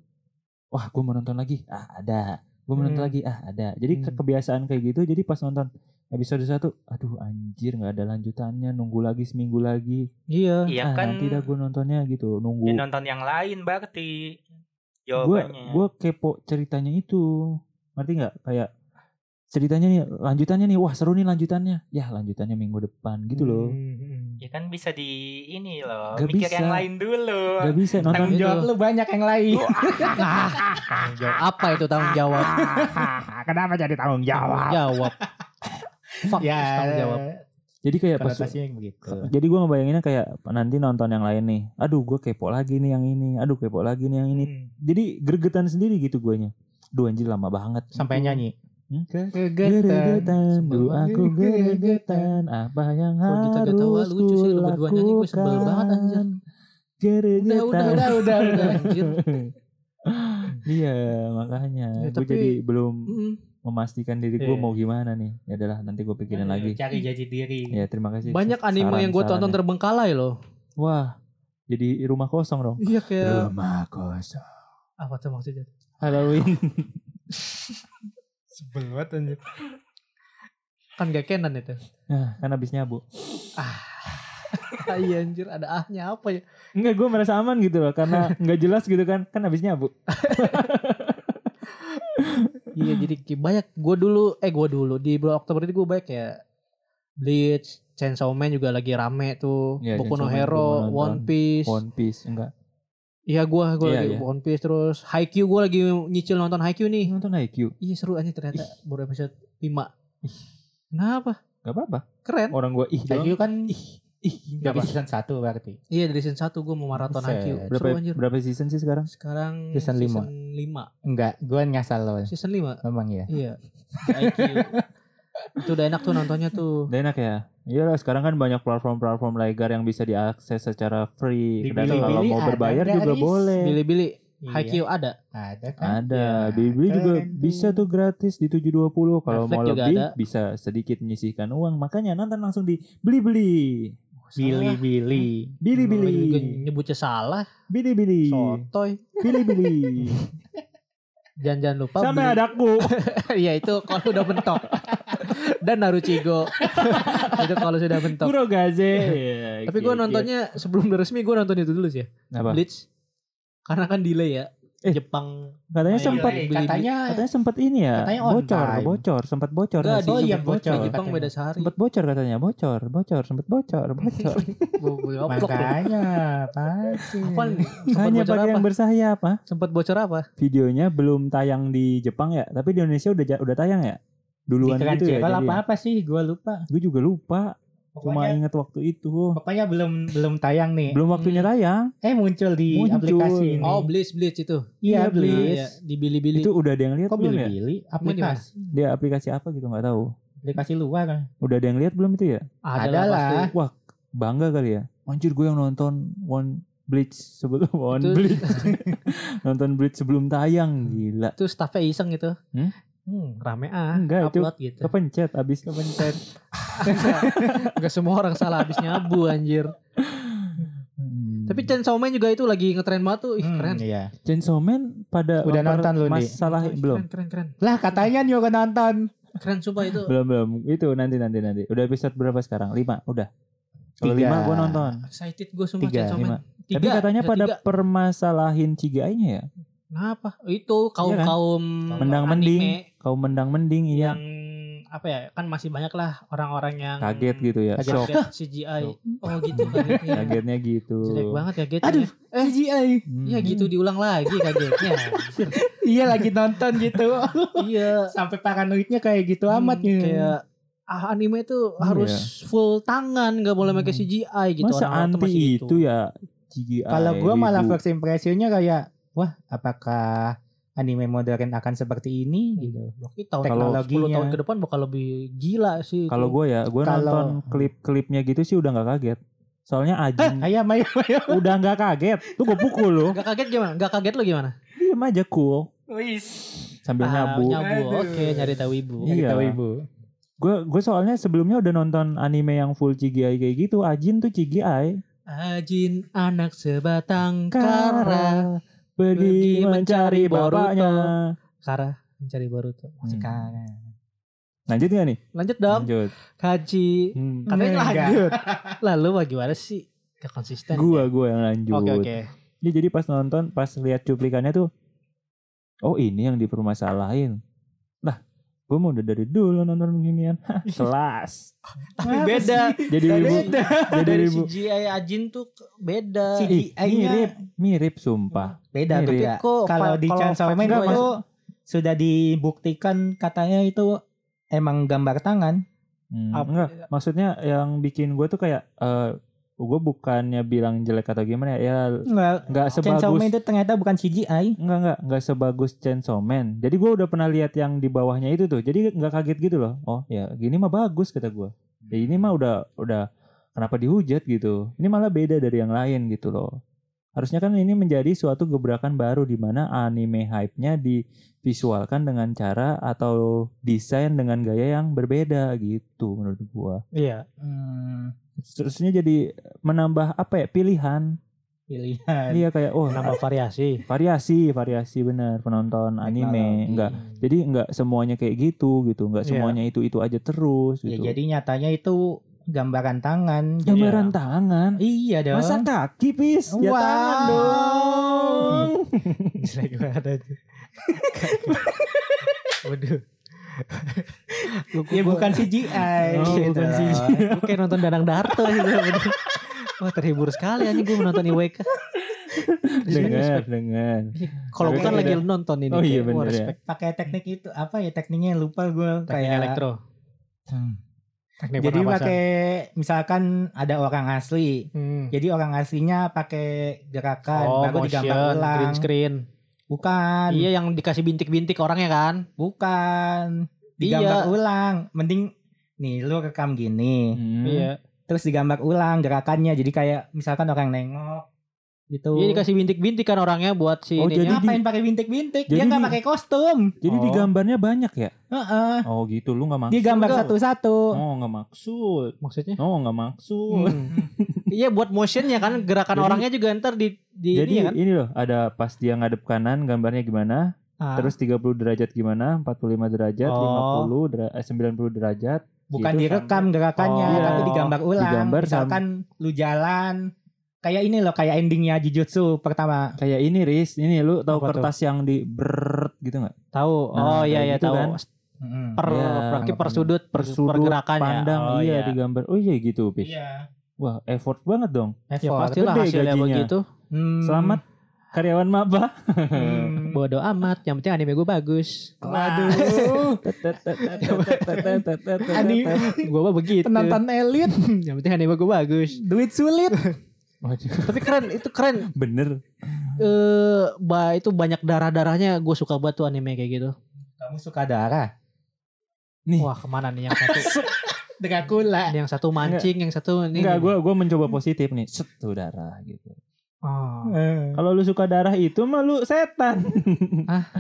S2: wah gue mau nonton lagi ah ada gue mau nonton
S1: Hmm.
S2: lagi ah ada jadi ke-
S1: Hmm.
S2: kebiasaan kayak gitu jadi pas nonton episode satu aduh anjir nggak ada lanjutannya nunggu lagi seminggu lagi
S1: iya
S2: ah,
S4: iya kan
S2: nanti dah gue nontonnya gitu
S4: dia
S2: nunggu
S4: nonton yang lain berarti
S2: gue
S4: jawabannya
S2: gue kepo ceritanya itu ngerti nggak kayak ceritanya nih lanjutannya nih wah seru nih lanjutannya ya lanjutannya minggu depan gitu loh
S3: Hmm.
S4: ya kan bisa di ini loh
S2: Gak
S4: mikir
S2: bisa.
S4: yang lain dulu
S2: nggak bisa
S4: tanggung
S2: nonton
S1: itu.
S4: jawab lu banyak yang lain
S1: tanggung jawab apa itu tanggung jawab
S3: kenapa jadi
S1: tanggung
S3: tanggung jawab
S1: jawab fuck
S3: ya
S1: tanggung jawab
S2: jadi kayak pas
S3: konotasinya begitu
S2: jadi gue ngebayanginnya kayak nanti nonton yang lain nih aduh gue kepo lagi nih yang ini aduh kepo lagi nih yang ini
S4: Hmm.
S2: jadi gregetan sendiri gitu guanya duh anjir lama banget
S3: sampai nyanyi
S2: Hmm?
S3: kegetan
S2: Gregetan, duh
S3: Semua
S2: aku
S3: gregetan.
S2: gregetan, apa yang
S1: Kalau
S2: harus
S1: kita
S2: kita
S1: gak tahu, ah, lucu sih lu berdua nyanyi, gue sebel banget, anjir. Udah, udah, udah, udah, udah,
S3: [LAUGHS]
S1: anjir.
S2: Iya makanya
S1: Ya,
S2: gue
S1: tapi-
S2: jadi belum
S1: Mm-mm.
S2: memastikan diri gue
S1: Iya.
S2: mau gimana nih ya adalah nanti gue pikirin
S3: Ayo,
S2: lagi
S3: cari jati diri
S2: ya terima kasih
S1: Banyak
S3: Gitu.
S1: anime yang gue tonton
S2: saran-sarannya.
S1: terbengkalai loh.
S2: wah jadi rumah kosong dong
S1: Iya kayak
S2: rumah kosong
S1: apa tuh maksudnya?
S2: Halloween
S3: sebel banget anjir
S1: Kan gak kenan itu. [LAUGHS]
S2: Ya, nah, kan habis nyabu
S1: Iya anjir ada ahnya apa ya?
S2: Enggak, gue merasa aman gitu loh [LAUGHS] karena nggak jelas gitu kan. Kan habis nyabu.
S1: Iya jadi kayak banyak gue dulu eh gue dulu di bulan Oktober itu gue banyak ya Bleach, Chainsaw Man juga lagi rame tuh,
S2: Iya,
S1: Boku no
S2: Chainsaw Man gua
S1: Hero,
S2: nonton.
S1: One Piece,
S2: One Piece enggak.
S1: iya gue gue
S2: Iya,
S1: lagi
S2: iya.
S1: One Piece terus Haikyuu gue lagi nyicil nonton Haikyuu nih,
S2: Ini nonton IQ.
S1: iya seru aja ternyata
S2: Ih.
S1: baru episode 5 Kenapa?
S2: Gak apa-apa.
S1: Keren.
S2: Orang gue ih doang.
S3: IQ kan
S2: Ih,
S3: dari
S2: berapa,
S3: season 1 berarti.
S1: Iya dari season 1 gue mau maraton
S3: Buset.
S1: Haikyuu.
S2: berapa,
S1: Seru anjir.
S2: berapa season sih sekarang?
S1: Sekarang
S3: Season lima.
S1: lima.
S3: Enggak, gue nyasar loh.
S1: Season 5.
S3: Memang ya.
S1: Iya. IQ. itu udah enak tuh nontonnya tuh.
S2: Udah enak ya. Iyalah sekarang kan banyak platform-platform legal yang bisa diakses secara free.
S3: Di
S2: Dan kalau
S3: Bilibili
S2: mau
S3: ada
S2: berbayar juga
S3: gratis.
S2: boleh.
S1: Bili-bili
S3: Iya,
S1: Haikyuu ada.
S3: Ada kan?
S2: Ada,
S3: Ya,
S2: Bibli juga
S3: keren
S2: bisa tuh gratis di 720 kalau
S1: Netflix
S2: mau
S1: juga
S2: lebih
S1: ada.
S2: bisa sedikit menyisihkan uang. Makanya nonton langsung di Beli-beli.
S3: Bili-bili.
S2: Bili-bili.
S1: Lu juga nyebutnya salah.
S2: Bili-bili.
S1: Sotoy.
S3: [LAUGHS]
S2: Bili-bili.
S1: Jangan-jangan lupa.
S2: Sampai
S1: beli-
S2: adaku.
S1: [LAUGHS] Iya itu kalau udah mentok. [LAUGHS] Dan Naruchigo. [LAUGHS] itu kalau sudah mentok.
S2: Kuro Gaze.
S1: Tapi gue nontonnya sebelum udah resmi gue nonton itu dulu sih ya.
S2: Apa?
S1: Bleach. Karena kan delay ya.
S2: Eh.
S1: Jepang.
S2: Katanya
S1: Iya,
S2: sempat
S1: iya.
S3: katanya
S2: katanya sempat ini ya.
S3: Katanya on
S2: bocor,
S3: time.
S2: bocor, sempat bocor.
S1: Enggak,
S2: nggak
S1: di
S2: sih?
S3: Oh iya,
S1: Jepang-
S3: bocor.
S1: Di Jepang beda sehari.
S2: Sempat bocor katanya, bocor, bocor, sempat
S1: [LAUGHS]
S2: bocor, bocor.
S1: Gua- gua ngeplok lu.
S3: makanya
S2: [LAUGHS]
S3: pasti.
S1: Apa nih? Sempat
S2: Iya. Hanya
S1: bocor
S2: bagi
S1: apa?
S2: yang bersahaya apa?
S1: Sempat bocor apa?
S2: videonya belum tayang di Jepang ya, tapi di Indonesia udah ja- udah tayang ya.
S3: Di
S2: Duluan gitu ya.
S3: Crunchyroll apa apa sih? Gue lupa.
S2: Gue juga lupa, cuma
S3: Pokoknya,
S2: ingat waktu itu.
S3: pokoknya belum belum tayang nih.
S2: Belum waktunya
S1: Hmm.
S2: tayang.
S3: Eh muncul di
S2: Muncul.
S3: aplikasi ini.
S1: Oh, Bleach Bleach itu.
S3: iya,
S2: iya, Bleach.
S1: Iya,
S3: Bliss.
S1: di Bilibili.
S2: Itu udah ada yang lihat
S3: Kok
S2: belum ya?
S3: bili-bili?
S1: Emang di mana?
S3: Aplikasi,
S2: Dia aplikasi apa gitu nggak tahu.
S3: aplikasi luar.
S2: Udah ada yang lihat belum itu ya?
S1: Ada
S3: Adalah.
S1: lah pasti.
S2: Wah, bangga kali ya. Anjir gue yang nonton One Bleach sebelum [LAUGHS] One
S1: Itu-
S2: Bleach. nonton Bleach sebelum tayang, gila.
S1: Itu staffnya iseng gitu.
S2: Hmm?
S1: Hmm, rame ah.
S2: Enggak, itu
S1: upload gitu. [LAUGHS]
S2: kepencet abis kepencet.
S1: Enggak semua orang salah habis nyabu anjir.
S2: Hmm.
S1: Tapi Chainsaw Man juga itu lagi ngetren banget tuh. Ih,
S3: Hmm,
S1: keren.
S3: Iya.
S2: Chainsaw Man pada
S3: Udah
S2: lempar
S3: nonton lu, Di?
S2: masalah
S1: Keren,
S2: belum?
S1: Keren, keren,
S3: Lah katanya juga nonton.
S1: keren. Keren sumpah itu.
S2: belum belum itu nanti nanti nanti udah episode berapa sekarang lima udah kalau
S3: Tiga.
S2: lima gue nonton
S1: Excited gue semua
S3: Tiga,
S1: Chainsaw
S2: lima.
S1: Man. Tiga,
S2: tapi katanya
S1: episode
S2: pada
S1: tiga.
S2: permasalahin cigai nya ya
S1: Kenapa? Itu kaum-kaum
S2: Iya kan? mendang
S1: anime
S2: mending kau mendang mending iya
S1: yang apa ya kan masih banyak lah orang-orang yang
S2: kaget gitu ya
S3: Kaget.
S2: shock
S1: kaget CGI oh gitu kagetnya
S2: kagetnya gitu
S1: jelek banget kagetnya
S3: Aduh, eh CGI.
S2: Hmm.
S1: Iya gitu diulang lagi
S2: [LAUGHS]
S1: kagetnya.
S3: Iya lagi nonton gitu.
S1: iya.
S3: Sampai paranoidnya kayak gitu amat
S1: Hmm,
S3: nih.
S1: Kayak ah, anime itu harus full tangan nggak boleh pakai
S2: iya. Hmm.
S1: CGI gitu.
S2: masa
S1: Orang-orang tuh
S2: anti
S1: masih gitu.
S2: itu ya cigai
S3: Kalau gue malah
S2: gitu.
S3: first impressionnya kayak wah apakah anime modern akan seperti ini gitu.
S1: Tapi Iya, tahun
S3: Kalau-
S1: kalau 10 tahun ke depan bakal lebih gila sih. itu.
S2: kalau gue ya gue
S3: Kalau-
S2: nonton klip-klipnya gitu sih udah nggak kaget soalnya
S1: Eh,
S2: Ajin
S3: Ayam ayam ayam.
S2: udah nggak kaget tuh gue pukul lo
S1: [LAUGHS] Nggak kaget gimana? Nggak kaget lo gimana?
S2: diem aja cool
S4: Wis.
S1: Ah,
S2: sambil nyabu
S1: nyabu.
S4: Aduh.
S1: Oke, nyari tahu ibu.
S2: Iya.
S3: Kita Gitu, ibu.
S2: Gue gue soalnya sebelumnya udah nonton anime yang full CGI kayak gitu. Ajin tuh CGI.
S1: Ajin anak sebatang kara.
S2: Kara pergi
S1: pergi
S2: mencari
S1: mencari Hmm.
S2: bapaknya.
S1: Kara mencari Boruto.
S2: Hmm.
S3: Sekarang.
S2: Lanjut gak nih?
S1: kan. Lanjut dong.
S2: Lanjut.
S1: Kaji.
S2: Hmm.
S1: Katanya
S3: Nah, Enggak.
S1: lanjut. Lalu bagaimana sih? Gak konsisten.
S2: Gua gua yang lanjut.
S1: Oke oke.
S2: Ya, jadi pas nonton, pas lihat cuplikannya tuh, oh ini yang dipermasalahin. Lah, gue mau udah dari dulu nonton beginian. Hah,
S3: [LAUGHS]
S2: Kelas.
S1: Tapi
S3: Apa
S1: beda. [LAUGHS]
S2: Jadi ibu,
S3: Beda.
S2: jadi
S1: Dari
S2: ibu.
S1: CGI Ajin tuh ke- beda.
S3: Si-
S2: Ih,
S3: CGI-nya.
S2: mirip, mirip sumpah.
S3: Beda
S2: Mirip.
S3: beda.
S1: Kok
S3: Kalau di Chainsaw Man
S2: Enggak,
S3: itu sudah dibuktikan katanya itu emang gambar tangan.
S2: Hmm,
S1: Apa-
S2: enggak, maksudnya yang bikin gue tuh kayak, eh gue bukannya bilang jelek atau gimana ya, ya
S3: Enggak.
S2: nggak
S3: Chainsaw Man
S2: sebagus
S3: itu ternyata bukan CGI.
S2: Enggak enggak enggak sebagus Chainsaw Man. Jadi gua udah pernah lihat yang di bawahnya itu tuh. Jadi enggak kaget gitu loh. Oh, ya gini mah bagus kata gua. Ya, ini mah udah udah kenapa dihujat gitu. Ini malah beda dari yang lain gitu loh. Harusnya kan ini menjadi suatu gebrakan baru di mana anime hype-nya divisualkan dengan cara atau desain dengan gaya yang berbeda gitu menurut gua.
S1: Iya.
S3: Hmm,
S2: Seterusnya jadi menambah apa ya pilihan.
S3: pilihan.
S2: Iya kayak oh
S1: Nambah variasi.
S2: variasi variasi bener penonton anime
S3: Teknologi.
S2: enggak jadi nggak semuanya kayak gitu gitu nggak
S1: Iya.
S2: semuanya itu itu aja terus
S3: Ya,
S2: gitu
S3: jadi nyatanya itu gambaran tangan.
S1: Iya.
S2: Gambaran
S1: ya.
S2: tangan.
S3: Iya dong.
S2: Masa kaki pis? Ya
S3: Wah.
S2: tangan
S1: [LAUGHS]
S2: dong.
S3: Jelek banget aja. Waduh.
S1: Iya,
S3: ya bukan CGI.
S2: Oh,
S3: gitu
S2: bukan
S3: loh.
S1: [LAUGHS]
S2: CGI.
S1: Gue kayak nonton Danang Darto gitu. Wah terhibur sekali anjing gue menonton IWK.
S2: dengar, dengar.
S1: Kalau
S2: Tapi
S1: bukan
S2: kan
S1: lagi
S2: ada-
S1: nonton ini.
S2: Oh iya
S1: Wah,
S2: benar ya.
S1: respect.
S3: Pakai teknik itu apa ya tekniknya lupa gue
S1: Teknik
S3: kayak
S1: elektro.
S3: Hmm.
S1: Teknik
S3: Jadi
S1: pernapasan.
S3: pakai misalkan ada orang asli.
S1: Hmm.
S3: Jadi orang aslinya pakai gerakan
S1: Oh,
S3: baru digambar
S1: motion,
S3: ulang.
S1: green screen.
S3: Bukan,
S1: Iya yang dikasih bintik-bintik orangnya kan.
S3: bukan. Digambar
S1: Iya.
S3: ulang. Mending nih lu rekam gini.
S2: Hmm.
S1: Iya.
S3: terus digambar ulang gerakannya jadi kayak misalkan orang nengok gitu
S1: Iya dikasih bintik-bintik kan orangnya buat si
S2: Oh,
S1: ininya.
S2: jadi-
S3: ngapain pakai bintik-bintik
S2: Jadi
S3: dia nggak
S2: di-
S3: pakai kostum
S2: Jadi
S1: Oh.
S2: di gambarnya banyak ya?
S3: Heeh.
S2: Oh gitu lu nggak
S3: dia
S2: maksud.
S3: gambar
S1: Enggak.
S3: satu-satu
S2: Oh nggak maksud.
S1: maksudnya.
S2: Oh nggak maksud.
S1: Gitu. Hmm. [LAUGHS] Iya buat motionnya kan gerakan
S2: Jadi-
S1: orangnya juga ntar di di
S2: Jadi
S1: ini
S2: ini,
S1: kan.
S2: loh, ada pas dia ngadep kanan gambarnya gimana,
S1: Ah,
S2: terus 30 derajat gimana, 45 derajat,
S1: Oh.
S2: 50 dera- eh, 90 derajat. gitu
S3: bukan
S2: sampai-
S3: direkam gerakannya
S1: Oh.
S3: tapi digambar ulang
S2: Digambar
S3: misalkan lu jalan kayak ini loh kayak endingnya Jujutsu pertama
S2: Gitu. Kayak ini Riz, ini lu tahu
S1: Apa tuh?
S2: kertas yang di brrrt gitu nggak?
S1: tahu. oh iya
S2: Nah, kayak
S1: iya
S2: gitu
S1: tahu.
S2: kan.
S3: Heeh.
S1: Per
S2: Iya,
S1: berarti per
S3: anggapannya.
S1: sudut per,
S2: Persudut,
S1: pergerakannya.
S2: pandang,
S1: Oh,
S2: iya, di gambar. Oh iya gitu, Pis.
S3: iya
S2: Wah, effort banget dong.
S1: Ya
S3: effort.
S1: pastilah
S2: Gede
S1: hasilnya
S2: gajinya.
S1: begitu.
S3: Hmm.
S2: Selamat karyawan maba.
S1: [LAUGHS]
S3: Hmm.
S1: Bodo amat, yang penting anime gue bagus.
S3: Waduh,
S2: [LAUGHS]
S3: Ani [LAUGHS]
S1: gue mah begitu.
S3: penonton elit,
S1: yang penting anime gue bagus.
S3: duit sulit.
S2: Waduh,
S1: Tapi keren, itu keren.
S2: bener.
S1: Eh, ba, itu banyak darah-darahnya gue suka banget tuh anime kayak gitu.
S3: Kamu suka darah?
S2: Ih.
S1: Wah, kemana nih yang satu?
S3: Dracula.
S1: [LAUGHS] Ini yang satu mancing, yang satu ini.
S2: Enggak,
S1: ini.
S2: gue gua mencoba positif nih. Set tuh darah gitu.
S1: Oh.
S3: Eh.
S2: Kalau lu suka darah itu mah lu setan.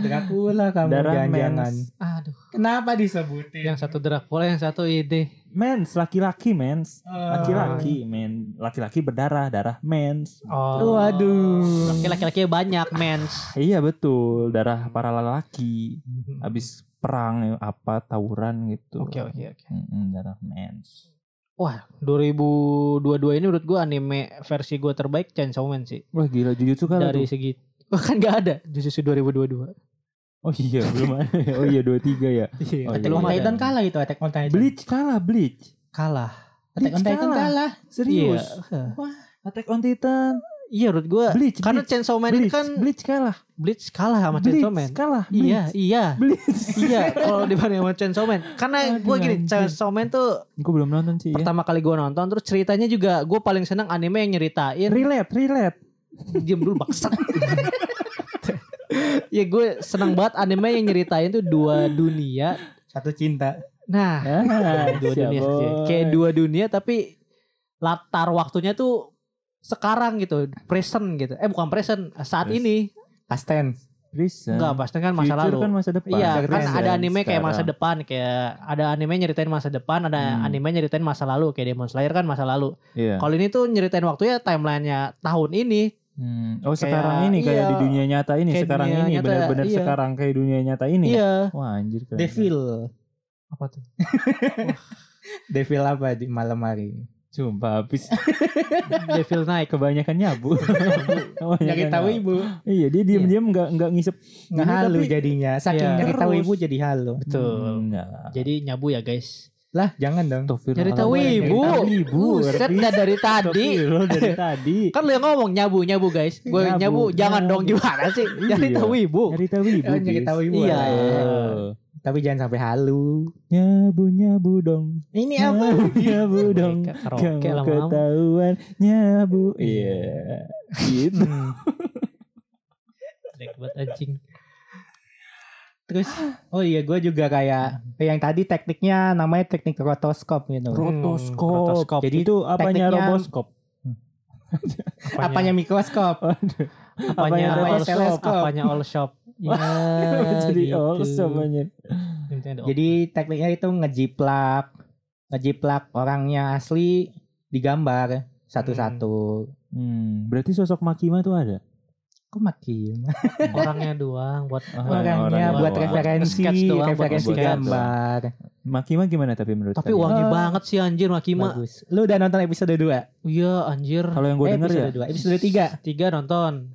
S3: Dracula kamu
S2: darah
S3: jangan-jangan.
S2: mens.
S1: Aduh,
S3: Kenapa disebutin?
S1: yang satu Dracula, yang satu ide.
S2: Mens, laki-laki mens.
S3: Eh,
S2: Laki-laki men. Laki-laki berdarah, darah mens.
S1: Oh.
S3: Waduh.
S1: Laki- Laki-laki banyak mens.
S2: Iya betul, darah
S1: Hmm.
S2: para lelaki. Habis perang eh, apa tawuran gitu.
S1: Oke oke oke.
S2: Mm-mm, darah mens.
S1: Wah, 2022 ini menurut gua anime versi gua terbaik Chainsaw Man sih.
S2: Wah gila Jujutsu kalah
S1: Dari
S2: tuh.
S1: segi [LAUGHS] Wah kan gak ada Jujutsu 2022
S2: Oh
S1: [LAUGHS]
S2: iya belum ada. Oh iya 23 ya.
S1: Iya
S2: Oh,
S3: Attack
S2: iya.
S3: on Titan kalah itu Attack on Titan.
S2: Bleach kalah Bleach.
S1: Kalah
S3: Attack on
S2: Bleach
S3: Titan
S2: kalah.
S3: kalah.
S2: Serius.
S1: Iya,
S2: Attack on Titan.
S1: Iya, menurut gua
S2: Bleach.
S1: Karena
S2: Bleach.
S1: Chainsaw Man
S2: Bleach,
S1: ini kan
S2: Bleach kalah.
S1: Bleach kalah sama
S2: Bleach
S1: Chainsaw Man
S2: kalah.
S1: Iya
S2: Bleach.
S1: iya [LAUGHS]
S2: Bleach. [LAUGHS]
S1: Iya kalau dibanding sama Chainsaw Man Karena
S2: Aduh,
S1: gua gini
S2: anjing.
S1: Chainsaw Man tuh
S2: Gue belum nonton sih ya.
S1: Pertama kali gua nonton Terus ceritanya juga Gue paling seneng anime yang nyeritain
S2: Relate, relate.
S1: Diam dulu bangsat [LAUGHS] Ya gue seneng banget anime yang nyeritain tuh dua dunia
S3: Satu cinta.
S1: Nah
S2: Ah,
S1: dua
S2: siap,
S1: dunia
S2: boy.
S1: sih. kayak dua dunia tapi latar waktunya tuh sekarang gitu present gitu eh bukan present saat
S2: Pres-
S1: ini
S3: Pasten.
S2: Prison.
S1: enggak pasti kan masa
S2: Future
S1: lalu
S2: kan masa depan.
S1: iya kan
S3: Present
S1: ada anime kayak masa depan kayak ada anime nyeritain masa depan ada
S2: Hmm.
S1: anime nyeritain masa lalu kayak Demon Slayer kan masa lalu
S2: Iya.
S1: kalau ini tuh nyeritain waktunya timelinenya tahun ini
S2: Hmm. Oh
S1: Kayak-
S2: sekarang ini kayak
S1: iya.
S2: di dunia nyata ini
S1: Kayak
S2: sekarang
S1: dunia
S2: ini
S1: nyata,
S2: benar-benar
S1: iya.
S2: sekarang kayak dunia nyata ini. ya?
S1: iya
S2: Wah anjir keren.
S3: Devil.
S1: apa
S3: [LAUGHS]
S1: tuh
S3: Devil apa di malam hari?
S2: Sumpah habis
S1: [LAUGHS] Devil Night
S2: kebanyakan
S1: [LAUGHS]
S2: nyabu. Kebanyakan
S3: Nyari tahu
S2: nyabu.
S3: ibu.
S2: Iya, dia diam-diam enggak enggak ngisep.
S3: Nggak
S2: Ini
S3: halu
S2: tapi-
S3: jadinya. Saking
S1: Iya.
S3: nyari tahu
S2: Terus.
S3: ibu jadi halu.
S1: betul
S2: Hmm, ya.
S1: jadi nyabu ya guys ya,
S3: Lah jangan dong.
S1: nyari tahu ibu
S2: ibu.
S1: buset dah dari tadi
S2: lo dari tadi.
S1: Kan lu yang ngomong nyabu nyabu guys. Gue
S2: Nyabu,
S1: nyabu, jangan
S2: nyabu.
S1: dong gimana sih? Jadi
S2: Iya.
S1: tahu ibu.
S2: Nyari tahu ibu.
S3: Oh, nyari
S2: Bis.
S3: tahu ibu.
S1: Iya.
S3: Eh, Tapi jangan sampai halu. Iya.
S2: Nyabu nyabu dong.
S3: Ini apa?
S2: Nyabu nyabu dong.
S1: Mereka Karaoke
S2: Kamu
S1: lama-lama.
S2: ketahuan nyabu. Iya. Gitu.
S3: Hmm.
S1: Jelek banget anjing.
S3: Terus oh iya gue juga kayak yang tadi tekniknya namanya teknik rotoskop
S1: Hmm,
S3: gitu.
S1: Rotoskop.
S2: Rotoskop.
S3: Jadi
S2: itu apanya
S3: tekniknya-
S2: roboskop?
S3: Apanya Oh. mikroskop?
S1: apanya
S2: apanya
S1: all
S3: teleskop?
S1: shop, apanya all [LAUGHS] shop. Ya,
S2: [LAUGHS] Jadi
S1: gitu.
S2: oh, awesome anjir.
S1: Jadi
S3: Jadi tekniknya itu ngejiplak, ngejiplak orangnya asli digambar satu-satu.
S1: Hmm.
S2: Hmm, berarti sosok Makima tuh ada.
S3: Kok makin?
S1: [LAUGHS] orangnya doang buat
S3: Orangnya
S1: orang
S3: buat
S1: doang.
S3: referensi,
S1: Sketch doang, buat
S3: referensi
S2: sketch doang.
S3: gambar.
S2: Makima gimana tapi menurut
S1: tapi
S2: kalian?
S1: wangi
S3: Eh.
S1: banget sih anjir Makima
S3: Bagus. Lu udah nonton episode 2?
S1: iya anjir
S2: Kalau yang gue
S3: Eh,
S2: denger ya.
S3: episode 2, episode
S1: [LAUGHS]
S3: 3.
S1: tiga nonton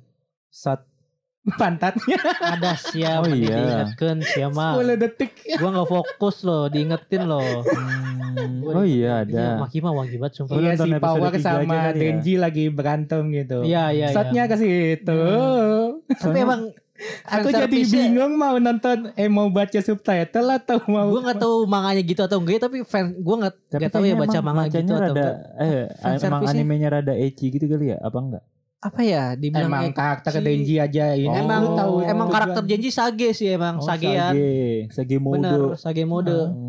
S3: Shot
S1: [LAUGHS]
S3: pantatnya
S1: ada siap
S2: Oh,
S1: oh,
S2: iya.
S1: diingetkan siapa
S3: 10 detik.
S1: gua nggak fokus loh diingetin loh
S2: Hmm, oh iya
S1: Iya,
S2: ada.
S1: Makima wangi banget sumpah
S2: Lu
S3: Iya
S2: nonton
S3: si
S2: episode
S3: Power
S2: tiga aja kali
S3: sama
S2: ya?
S3: Denji lagi berantem gitu.
S1: Iya iya.
S3: Shotnya
S1: iya.
S3: ke situ.
S1: Tapi emang
S3: Aku jadi bingung mau nonton eh mau baca subtitle atau mau
S1: Gue nggak tahu manganya gitu atau enggak ya, tapi fan gue nggak
S2: Tapi
S1: nggak tahu ya
S2: kayaknya
S1: baca
S2: emang
S1: manga gitu
S2: bacanya
S1: atau
S2: rada,
S1: enggak.
S2: eh,
S1: Fanservice-nya.
S2: emang animenya rada ecchi gitu kali ya? Apa enggak?
S1: Apa ya dibilang
S3: emang
S1: ek-
S3: karakter
S1: si-
S3: Denji aja ini.
S2: Oh.
S1: emang
S3: tahu
S1: emang
S3: tujuan.
S1: karakter Genji Sage sih emang Sagean.
S2: Sage, Sage
S1: Iya.
S2: Modo.
S1: Bener Sage mode.
S2: Hmm.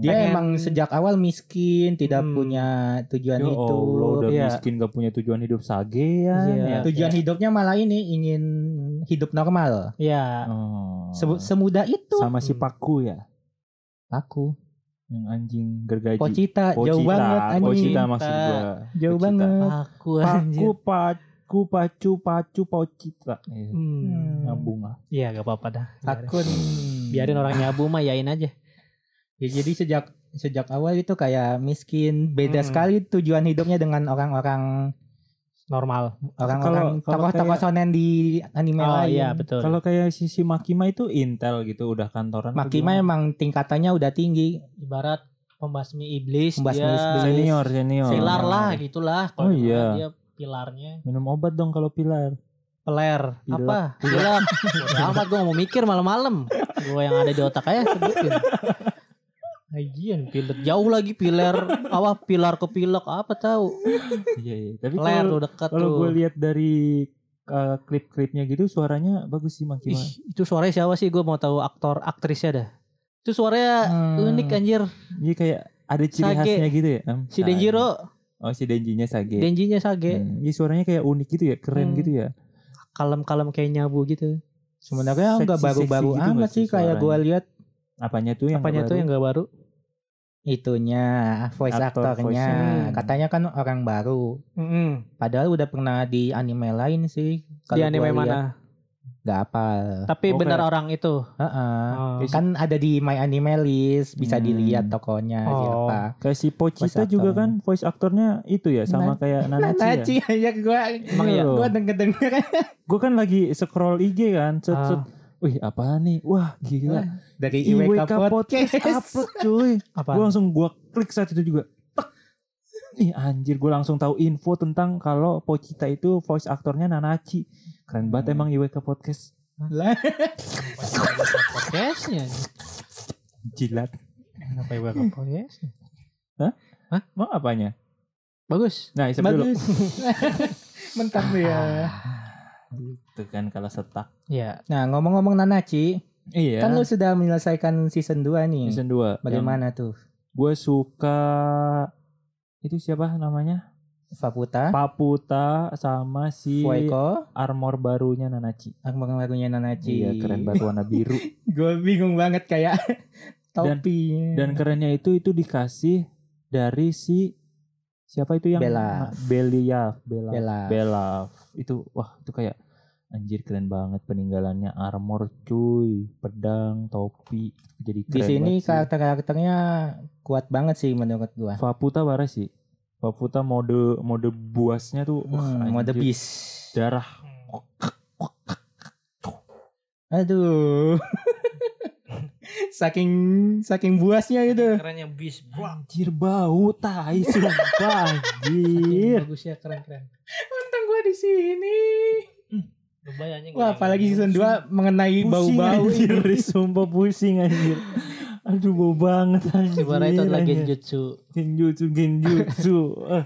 S3: Dia
S1: pengen-
S3: emang sejak awal miskin, tidak
S1: Hmm.
S3: punya tujuan
S2: Ya
S3: itu.
S2: Allah, udah
S1: iya.
S2: miskin gak punya tujuan hidup sagean
S1: Iya.
S2: ya.
S3: Tujuan hidupnya malah ini ingin hidup normal.
S1: Ya.
S2: Oh.
S3: Se- semudah itu.
S2: sama si
S1: Hmm.
S2: Paku ya,
S3: Aku
S2: yang anjing gergaji.
S3: Pocita,
S2: Pocita,
S3: jauh banget anjing.
S2: Pocita maksud gua.
S3: Jauh
S2: Pocita.
S3: banget.
S1: Aku
S2: Paku,
S1: anjir.
S2: paku, pacu, pacu, pocita. Iya.
S1: Hmm.
S2: Nyambung lah.
S1: Iya gak apa-apa dah. Biarin.
S3: Akun.
S2: Hmm.
S1: Biarin orang nyabu mah yain aja.
S3: Ya, jadi sejak sejak awal itu kayak miskin, beda
S1: Hmm.
S3: sekali tujuan hidupnya dengan orang-orang
S1: Normal.
S2: Kalau-
S3: orang-orang
S2: kalau
S3: tokoh-tokoh
S2: kayak-
S3: shonen di anime
S1: Oh
S3: lain.
S1: iya betul.
S2: Kalau kayak sisi Makima itu Intel gitu, udah kantoran. apa
S3: Makima
S2: gimana?
S3: emang tingkatannya udah tinggi.
S1: Ibarat pembasmi iblis
S3: Pembasmi
S1: dia
S3: iblis.
S2: senior, senior.
S1: pilar lah gitulah. Kalau
S2: Oh,
S1: di manga
S2: iya.
S1: Dia pilarnya
S2: Minum obat dong kalau
S1: [LAUGHS]
S2: pilar.
S1: peler
S2: Pilek.
S1: apa pilek Bodo amat gue mau mikir malam-malam gue yang ada di otak aja sebutin Lagian pilar jauh lagi pilar apa pilar ke pilek apa tahu
S2: Iya, iya. Tapi
S1: peler
S2: kalau
S1: tuh dekat
S2: kalau
S1: tuh
S2: gue lihat dari uh, klip-klipnya gitu suaranya bagus sih Makima.
S1: Ih, itu suaranya siapa sih gue mau tahu aktor aktrisnya dah itu suaranya
S2: Hmm.
S1: unik
S3: Hmm.
S1: anjir
S2: Iya kayak ada ciri
S1: Sage.
S2: khasnya gitu ya. Em,
S1: si
S2: Sage.
S1: Denjiro
S2: Oh si Denjinya Sage.
S1: Denjinya sage
S2: Hmm, iya, suaranya kayak unik gitu ya, keren
S1: Hmm.
S2: gitu ya.
S1: kalem-kalem kayak nyabu gitu
S3: Sebenarnya
S2: Seksi-seksi
S3: nggak baru-baru
S2: gitu
S3: amat
S2: nggak
S3: sih
S2: sih
S3: kayak
S2: suaranya?
S3: gua lihat
S2: Apanya tuh yang
S1: apanya tuh yang gak baru
S3: itunya voice
S2: Aktor,
S3: aktornya.
S2: voice-nya.
S3: Katanya kan orang baru. Padahal udah pernah di anime lain sih.
S1: di anime mana
S3: Gak apa.
S1: tapi
S2: Oh,
S1: benar
S2: kayak-
S1: orang itu Oh.
S3: Kan ada di My Anime List bisa
S2: Hmm.
S3: dilihat tokonya
S1: Oh.
S3: siapa.
S2: Kayak si Pochita
S3: Voice
S2: juga
S3: actor.
S2: kan voice aktornya itu ya sama kayak Nanachi. ya?
S3: Nanachi [LAUGHS] aja gua
S1: Emang
S2: Iya
S1: iya?
S2: loh.
S3: gua denger-denger
S2: Gue kan lagi scroll IG kan, set
S1: Ah.
S2: set. Wih, apa nih? Wah, gila.
S3: dari
S2: IWK
S3: IWK
S2: Podcast
S3: Podcast.
S2: upload cuy.
S1: apa
S2: Gue langsung gua klik saat itu juga. Tek. Ih anjir, gue langsung tahu info tentang kalau Pochita itu voice aktornya Nanachi. Keren banget emang IWK Podcast.
S3: Lah,
S1: podcastnya
S2: Jilat.
S1: kenapa ya gak podcastnya
S2: Mau apanya?
S1: bagus
S2: Nah, isep dulu.
S3: Bagus.
S2: [LAUGHS]
S3: Mentah tuh ya.
S2: Itu kan kalau setak.
S1: ya
S3: Nah, ngomong-ngomong Nanachi,
S2: Iya.
S3: kan lu sudah menyelesaikan season 2 nih.
S2: season 2.
S3: Bagaimana tuh?
S2: Gue suka itu siapa namanya?
S3: Faputa,
S2: Paputa sama si
S3: Fueiko,
S2: armor barunya Nanachi.
S3: akmang lagunya Nanachi.
S2: Iya, keren
S3: [LAUGHS]
S2: banget warna biru.
S3: Gue bingung banget kayak [LAUGHS] topi.
S2: [LAUGHS] Dan kerennya itu itu dikasih dari si siapa itu yang
S3: Belaf.
S2: Beliaf, Belaf.
S3: Belaf.
S2: Belaf. Itu wah itu kayak anjir keren banget peninggalannya armor cuy, pedang, topi. Jadi keren
S3: di sini
S2: banget sih.
S3: karakter-karakternya kuat banget sih menurut gua.
S2: Faputa parah sih. Faputa mode mode buasnya tuh wah,
S3: Hmm, mode
S2: anjir.
S3: bis.
S2: darah. [LAUGHS]
S3: Aduh. saking saking buasnya itu.
S1: kerennya bis
S2: Anjir bau tai sumpah anjir.
S1: bagusnya keren keren
S3: Untung gua di sini.
S2: Hmm.
S1: Bayangin
S3: Wah, apalagi season 2 mengenai bau-bau
S2: anjir,
S3: ini.
S2: sumpah pusing anjir. Aduh bau banget anjir.
S1: Sebenarnya itu adalah
S2: anjir.
S1: genjutsu
S2: Genjutsu, genjutsu. Eh,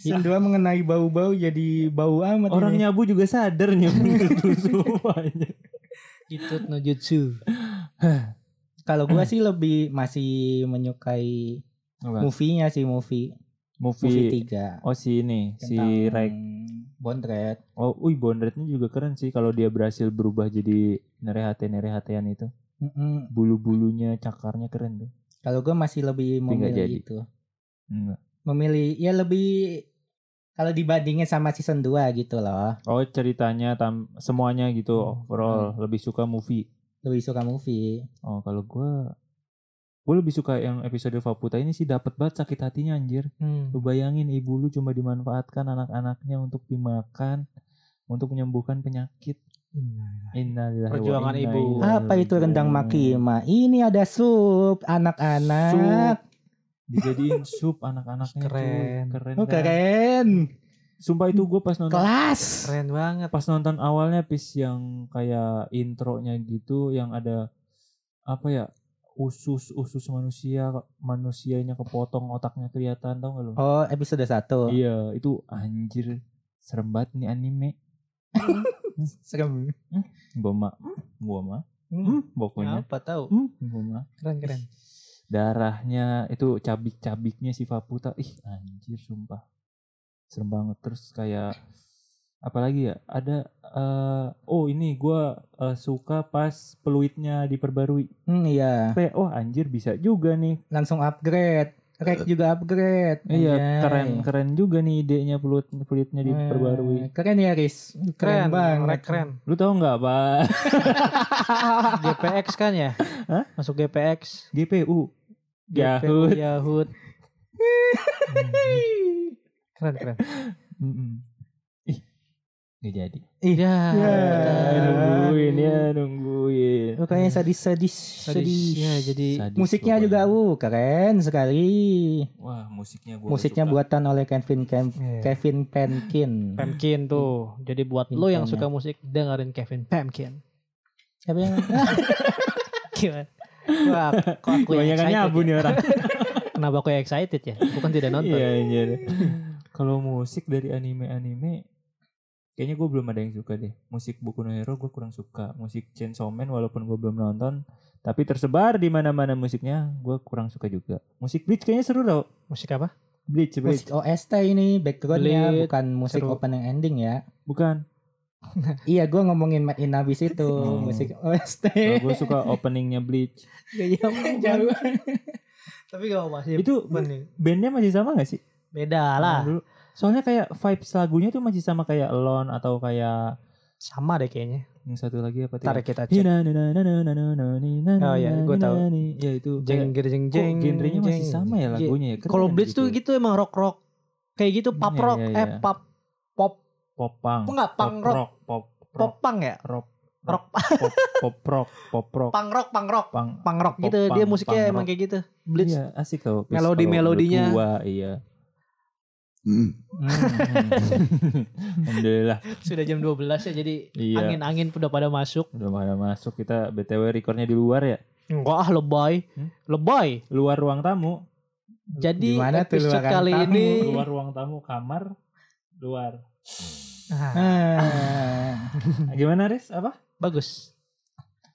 S3: Season 2 mengenai bau-bau jadi bau amat
S2: Orang
S3: ini.
S2: nyabu juga sadar nyabu itu semuanya.
S1: Jutut no jutsu
S3: Kalau
S2: [CLEARS THROAT]
S3: gua sih lebih masih menyukai movie-nya sih movie. Movie
S2: Movie.
S3: 3.
S2: Oh si ini, si Raik.
S3: Bondret.
S2: Oh, uy Bondretnya juga keren sih kalau dia berhasil berubah jadi nerehate-nerehatean itu.
S3: Mm-mm.
S2: Bulu-bulunya, cakarnya keren tuh.
S3: Kalau gue masih
S2: Tapi
S3: lebih
S2: nggak
S3: memilih
S2: jadi.
S3: itu.
S2: Enggak.
S3: Memilih ya lebih kalau dibandingin sama season 2 gitu loh.
S2: Oh ceritanya tam semuanya gitu
S3: Hmm.
S2: overall lebih suka movie.
S3: Lebih suka movie.
S2: Oh kalau gua gue lebih suka yang episode Faputa ini sih dapat banget sakit hatinya anjir.
S5: Hmm.
S2: Lu bayangin ibu lu cuma dimanfaatkan anak-anaknya untuk dimakan untuk menyembuhkan penyakit. Iya, Innalillahi wa
S1: Perjuangan
S2: inna
S1: ibu.
S2: ilaihi
S3: Apa itu rendang
S2: raji'un.
S3: makima? Ini ada sup anak-anak.
S2: Dijadiin sup anak-anaknya cuy.
S1: Keren.
S2: Keren.
S3: Oh,
S2: dah.
S3: keren.
S2: Sumpah itu gue pas nonton
S3: Kelas.
S1: Keren banget.
S2: pas nonton awalnya pis yang kayak intronya gitu yang ada apa ya usus usus manusia manusianya kepotong otaknya kelihatan tau gak lu
S3: Oh, episode 1.
S2: iya itu anjir serem banget nih anime
S3: Serem.
S2: gua mah gua mah
S3: Hmm,
S2: pokoknya
S1: Apa tahu?
S2: Hmm, gua mah
S1: Keren keren.
S2: darahnya itu cabik-cabiknya si Faputa ih anjir sumpah serem banget terus kayak apalagi ya ada eh, oh ini gua eh, suka pas peluitnya diperbarui
S3: Hmm, iya.
S2: kayak oh anjir bisa juga nih
S3: Langsung upgrade. Rek juga upgrade.
S2: iya
S3: Anjay.
S2: keren keren juga nih idenya peluit peluitnya
S3: Eh,
S2: diperbarui
S3: Keren ya, Riz. Keren,
S1: Keren
S3: banget.
S1: Rek keren.
S2: lu tau nggak [LAUGHS] pak
S1: GPX kan ya?
S2: Hah?
S1: Masuk GPX.
S2: GPU
S1: GPU,
S2: Yahoo
S1: Yahoo. [LAUGHS] Keren keren.
S2: Mm-mm. ih nggak jadi
S1: Iya.
S3: Ya.
S1: betul.
S2: nungguin ya nungguin
S3: Bukannya sadis-sadis.
S1: Sadis. Iya, jadi
S2: Sadis
S3: Musiknya
S2: pokoknya.
S3: juga uh keren sekali.
S2: Wah musiknya gua
S3: Musiknya
S2: suka.
S3: buatan oleh Kevin Kem-
S1: Iya.
S3: Kevin Penkin.
S1: Pemkin
S2: Hmm.
S1: tuh. Jadi buat lo yang
S3: Pemkin,
S1: suka musik dengerin Kevin Pemkin.
S3: Siapa yang
S1: [LAUGHS] Gimana? Wah, kok aku yang
S2: Kebanyakan
S1: excited
S2: nyabu
S1: ya?
S2: nih orang.
S1: [LAUGHS] Kenapa aku yang excited ya? Bukan tidak nonton.
S2: Iya iya. Kalau musik dari anime-anime kayaknya gue belum ada yang suka deh. Musik Boku no Hero gue kurang suka. Musik Chainsaw Man walaupun gue belum nonton tapi tersebar di mana-mana musiknya gue kurang suka juga. Musik Bleach kayaknya seru tau.
S1: Musik apa?
S2: Bleach, Bleach.
S3: musik OST ini backgroundnya
S1: Belit.
S3: bukan musik
S1: Seru.
S3: opening ending ya.
S2: Bukan.
S3: Iya, gue ngomongin Mad in Abyss
S1: [LAUGHS]
S3: itu
S1: Hmm.
S2: Oh.
S3: musik OST.
S2: gue suka openingnya Bleach.
S1: [LAUGHS]
S3: Jauh.
S1: Tapi gak mau masih
S2: Itu bandnya masih sama gak sih?
S1: Beda lah.
S2: Dulu. Soalnya kayak vibes lagunya tuh masih sama kayak Alone atau kayak
S1: Sama deh kayaknya.
S2: yang satu lagi apa?
S1: Ntar kita cek.
S2: Oh
S1: Oh, iya, gua tahu.
S2: Ya itu. kayak-
S1: Jeng jeng jeng
S2: Kok
S1: jeng. Iya.
S2: genrenya masih sama ya lagunya ya? Keren
S1: Kalau
S2: ya
S1: Blitz tuh
S2: gitu.
S1: gitu emang rock rock. Kayak gitu pop
S2: Iya,
S1: rock,
S2: iya, iya.
S1: eh pop
S2: pop punk,
S1: enggak punk rock,
S2: pop
S1: pop punk ya?
S2: rock,
S1: Rock
S2: pop pop rock, pop rock,
S1: punk rock, punk rock,
S2: punk.
S1: punk rock
S2: Pop
S1: gitu.
S2: punk,
S1: Dia musiknya
S2: punk
S1: emang
S2: rock.
S1: kayak gitu. Blitz.
S2: Iya, asik tau. Terus
S1: Melodi-
S2: kalau menurut
S1: melodinya.
S2: Gua,
S1: [LAUGHS]
S2: iya.
S3: [LAUGHS] Hmm.
S2: Alhamdulillah.
S1: Sudah jam 12 ya jadi
S2: Iya.
S1: angin-angin udah pada masuk.
S2: Udah pada masuk kita BTW recordnya di luar ya.
S1: Enggak ah lebay.
S2: Hmm?
S1: Lebay.
S2: Luar ruang tamu.
S1: Jadi
S3: Gimana tuh
S1: episode
S3: luaran
S1: kali
S3: tamu?
S1: ini
S2: Luar ruang tamu kamar luar.
S1: Ah,
S3: Ah.
S2: Gimana Riz? Apa?
S1: bagus.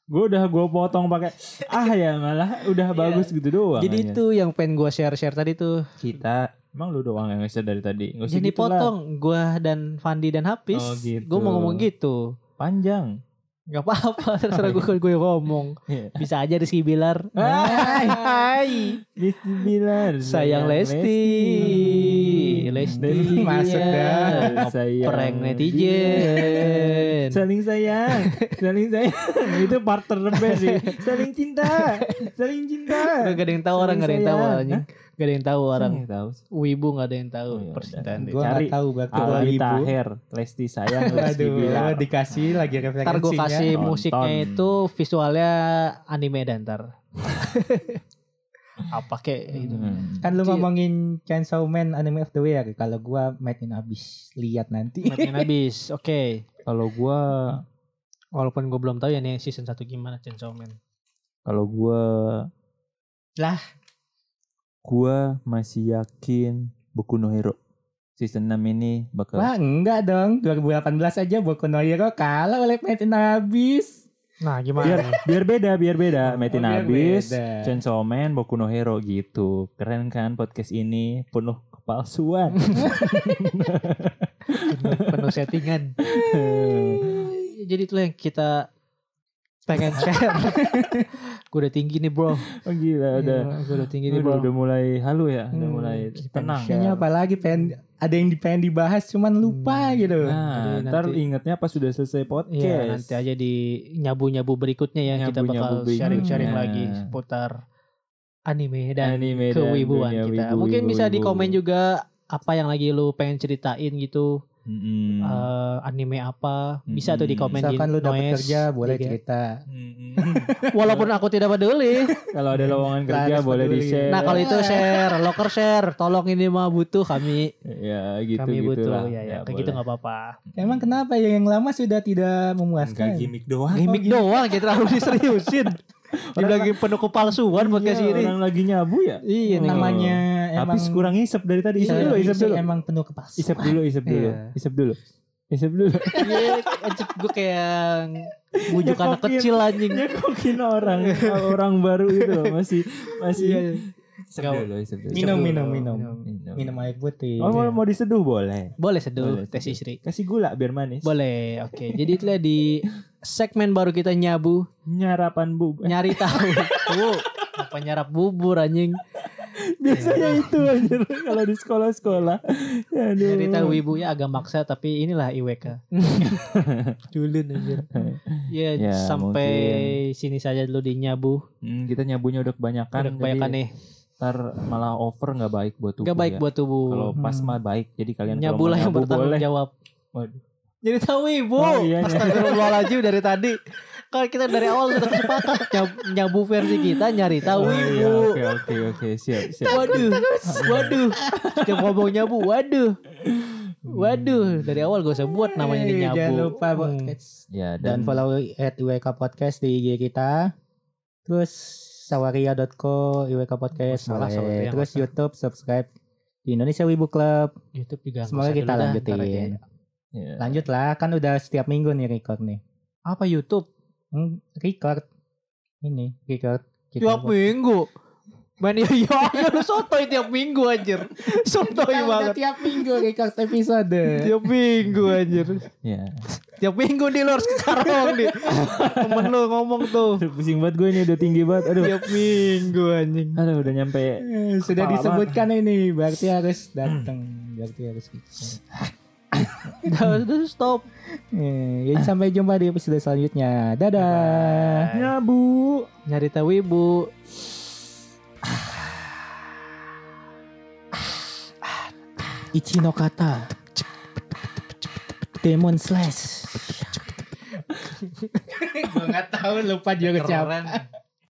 S2: Gue udah gue potong pakai ah ya malah udah bagus gitu doang.
S1: Iya. Jadi
S2: anjir.
S1: itu yang pengen gua share-share tadi tuh.
S2: kita emang lu doang yang ngeset dari tadi nggak usah
S1: Jadi
S2: gitu lah.
S1: potong gua dan Fandi dan Hafiz.
S2: Oh, gitu.
S1: Gua mau ngomong gitu.
S2: panjang
S1: Gak
S2: [LAUGHS]
S1: apa-apa, terserah gue gue yang ngomong.
S2: Iya.
S1: Bisa aja Rizky Bilar.
S2: Hai.
S1: Hai.
S2: Lesti Bilar
S1: Sayang Lesti. Lesti. Iya.
S3: Masuk dah.
S2: sayang
S1: Prank netizen.
S2: saling sayang saling sayang [LAUGHS] itu part terbest sih saling cinta saling cinta
S1: Gak ada yang tahu orang, gak ada yang tahu
S2: Sayang.
S1: orang. Gak ada yang tahu orang.
S2: Saya nggak tahu sih.
S1: Wibu gak ada yang tahu
S2: Oh, iya,
S1: percintaan dia.
S2: udah.
S3: Gue
S2: Cari.
S3: gak tahu berarti dua
S2: Aldi
S3: ribu.
S2: Tahir Lesti sayang Lesti
S3: Aduh,
S2: Bilar
S3: dikasih lagi referensinya.
S1: Ntar gue kasih
S2: Nonton.
S1: musiknya itu visualnya anime dan
S2: [LAUGHS]
S1: ntar. Apa kek gitu.
S2: Hmm.
S3: Kan lu
S1: Ci-
S3: ngomongin Chainsaw Man Anime of the Year. Kalau gua Mad in Abyss. Lihat nanti.
S1: Matiin habis, oke.
S2: kalau gua
S1: Walaupun gue belum tahu ya nih season 1 gimana Chainsaw Man.
S2: kalau gua
S3: Lah.
S2: gua masih yakin Boku no Hero season 6 ini bakal
S3: Wah enggak dong. 2018 aja Boku no Hero kalah oleh Mad in Abyss.
S1: Nah gimana?
S2: biar biar beda biar beda Metin
S3: Oh, biar
S2: Abis
S3: beda.
S2: Chainsaw Man Boku no Hero gitu keren kan podcast ini penuh
S1: [LAUGHS]
S2: kepalsuan [LAUGHS]
S1: penuh settingan. Jadi itulah yang kita pengen share.
S2: [LAUGHS]
S1: gue udah tinggi nih bro.
S2: Oh gila udah.
S1: Gue Iya. udah tinggi nih bro.
S2: Udah, udah mulai halu ya, udah
S1: Hmm,
S2: mulai
S1: kita
S2: tenang.
S3: Kayaknya apalagi pengen ada yang di- pengen dibahas cuman lupa
S1: Hmm.
S3: gitu.
S2: Nah,
S1: Jadi
S2: ntar
S1: nanti-
S2: ingetnya pas sudah selesai podcast.
S1: Iya nanti aja di nyabu-nyabu berikutnya ya kita
S2: Nyabu-nyabu
S1: bakal
S2: berikutnya.
S1: sharing-sharing lagi seputar anime dan
S2: Anime dan
S1: kewibuan
S2: dunia
S1: kita.
S2: wibu,
S1: Mungkin
S2: wibu,
S1: bisa di
S2: wibu.
S1: komen juga apa yang lagi lu pengen ceritain gitu,
S2: Mm-mm.
S1: eh, anime apa, bisa tuh di
S2: Mm-mm.
S1: komen di
S3: Misalkan lu dapat
S1: noise
S3: kerja boleh
S2: iya.
S1: juga.
S3: cerita.
S2: Mm-mm.
S1: Walaupun aku tidak peduli.
S2: [LAUGHS] Kalau ada lowongan kerja
S3: harus
S2: boleh di
S3: peduli.
S2: share.
S1: Nah, kalau
S3: [LAUGHS]
S1: itu share, loker share, tolong ini mah butuh kami.
S2: ya gitu
S1: kami
S2: gitu
S1: butuh
S2: lah.
S1: ya ya, kayak gitu nggak apa-apa.
S3: Emang kenapa ya yang lama sudah tidak
S2: Enggak
S3: memuaskan?
S2: gimmick doang. Iya,
S1: Gimik
S3: gitu.
S1: doang kita terlalu
S3: [LAUGHS]
S1: diseriusin. Dibilang penuh kepalsuan buat
S2: Iya,
S1: kasih ini.
S2: Orang lagi nyabu ya.
S1: Iya nih.
S3: Namanya emang
S2: Habis kurang isep dari
S1: Iya,
S2: tadi. Isep dulu, isep dulu.
S3: Emang penuh kepalsuan.
S2: Isep dulu, isep dulu.
S3: Iya.
S2: Isep dulu. Isep dulu.
S1: Iya, anjing, gue kayak bujuk anak
S2: Nyekokin.
S1: kecil anjing.
S2: Nyekokin orang orang baru gitu loh, masih masih Isep dulu, isep dulu.
S3: Minum,
S2: Isep
S3: minum,
S2: dulu.
S3: minum.
S2: Minum.
S3: Minum air putih.
S2: Oh, mau, mau diseduh boleh.
S1: Boleh seduh
S2: Boleh
S1: tes
S2: seduh.
S1: istri.
S2: Kasih gula biar manis.
S1: Boleh, oke. Jadi itulah di segmen baru kita nyabu,
S2: Nyarapan bu.
S1: [LAUGHS] nyari tahu. Tuh, apa nyarap bubur anjing.
S2: Biasanya itu anjir kalau di sekolah-sekolah. Aduh.
S1: Nyari tahu ibunya agak maksa tapi inilah
S2: [LAUGHS]
S1: IWK. Culun anjir. Ya,
S2: Ya,
S1: sampai sini saja dulu di nyabu.
S2: Hmm, kita nyabunya udah kebanyakan.
S1: Udah kebanyakan
S2: Kan jadi
S1: nih.
S2: Ntar malah over nggak baik buat tubuh.
S1: Gak baik
S2: ya.
S1: buat tubuh.
S2: Kalau pas mah baik. Jadi kalian kalau
S1: Nyabu
S2: mau
S1: lah yang
S2: nyabu
S1: bertanggung
S2: boleh.
S1: jawab.
S2: Waduh.
S1: Jadi tahu ibu.
S2: Oh, iya, iya.
S1: Astagfirullahaladzim dari tadi. Kalau kita dari awal sudah sepakat nyab- nyabu versi kita nyari tahu
S2: Oh, iya,
S1: ibu.
S2: Oke oke oke siap siap.
S1: Waduh, waduh, setiap ngomong nyabu, waduh,
S2: Hmm.
S1: waduh, dari awal gak usah buat Iya. namanya di
S3: Eh,
S1: nyabu.
S3: Jangan lupa
S1: Hmm.
S3: podcast.
S2: Ya dan,
S3: Dan follow at IWK Podcast di IG kita. Terus sawaria.co IWK Podcast.
S1: Masalah,
S3: boleh.
S1: Oh, sawaria,
S3: Terus
S1: masalah.
S3: YouTube subscribe di Indonesia Wibu Club.
S1: YouTube juga. nggak
S3: Semoga
S1: usah
S3: kita
S1: dulu dah,
S3: lanjutin.
S1: ntar aja.
S2: ya.
S3: Lanjut lah, kan udah setiap minggu nih record nih.
S1: Apa YouTube?
S3: Hmm, record. Ini record. Kita
S1: Tiap
S3: buat-
S1: minggu. Main yo yo, iya, lu sotoy tiap minggu [LAUGHS] anjir. Sotoy
S3: Kita Kan udah
S1: banget.
S3: tiap minggu record
S1: [LAUGHS]
S3: episode.
S1: Tiap minggu anjir.
S2: Ya.
S1: Tiap minggu di lu harus ke karong di. Temen lu ngomong tuh.
S2: Aduh, Pusing banget gue ini udah tinggi banget. Aduh.
S1: Tiap minggu anjing.
S2: Aduh udah nyampe.
S3: Eh, Sudah
S2: Kepala
S3: disebutkan ini, berarti harus datang, berarti harus ikut.
S1: Udah udah, stop.
S3: Eh, jadi sampai jumpa di episode selanjutnya. Dadah.
S2: Nyabu.
S1: Nyari tahu ibu.
S3: Ichino kata. Demon slash. Gue nggak tahu lupa juga siapa.
S1: Keren.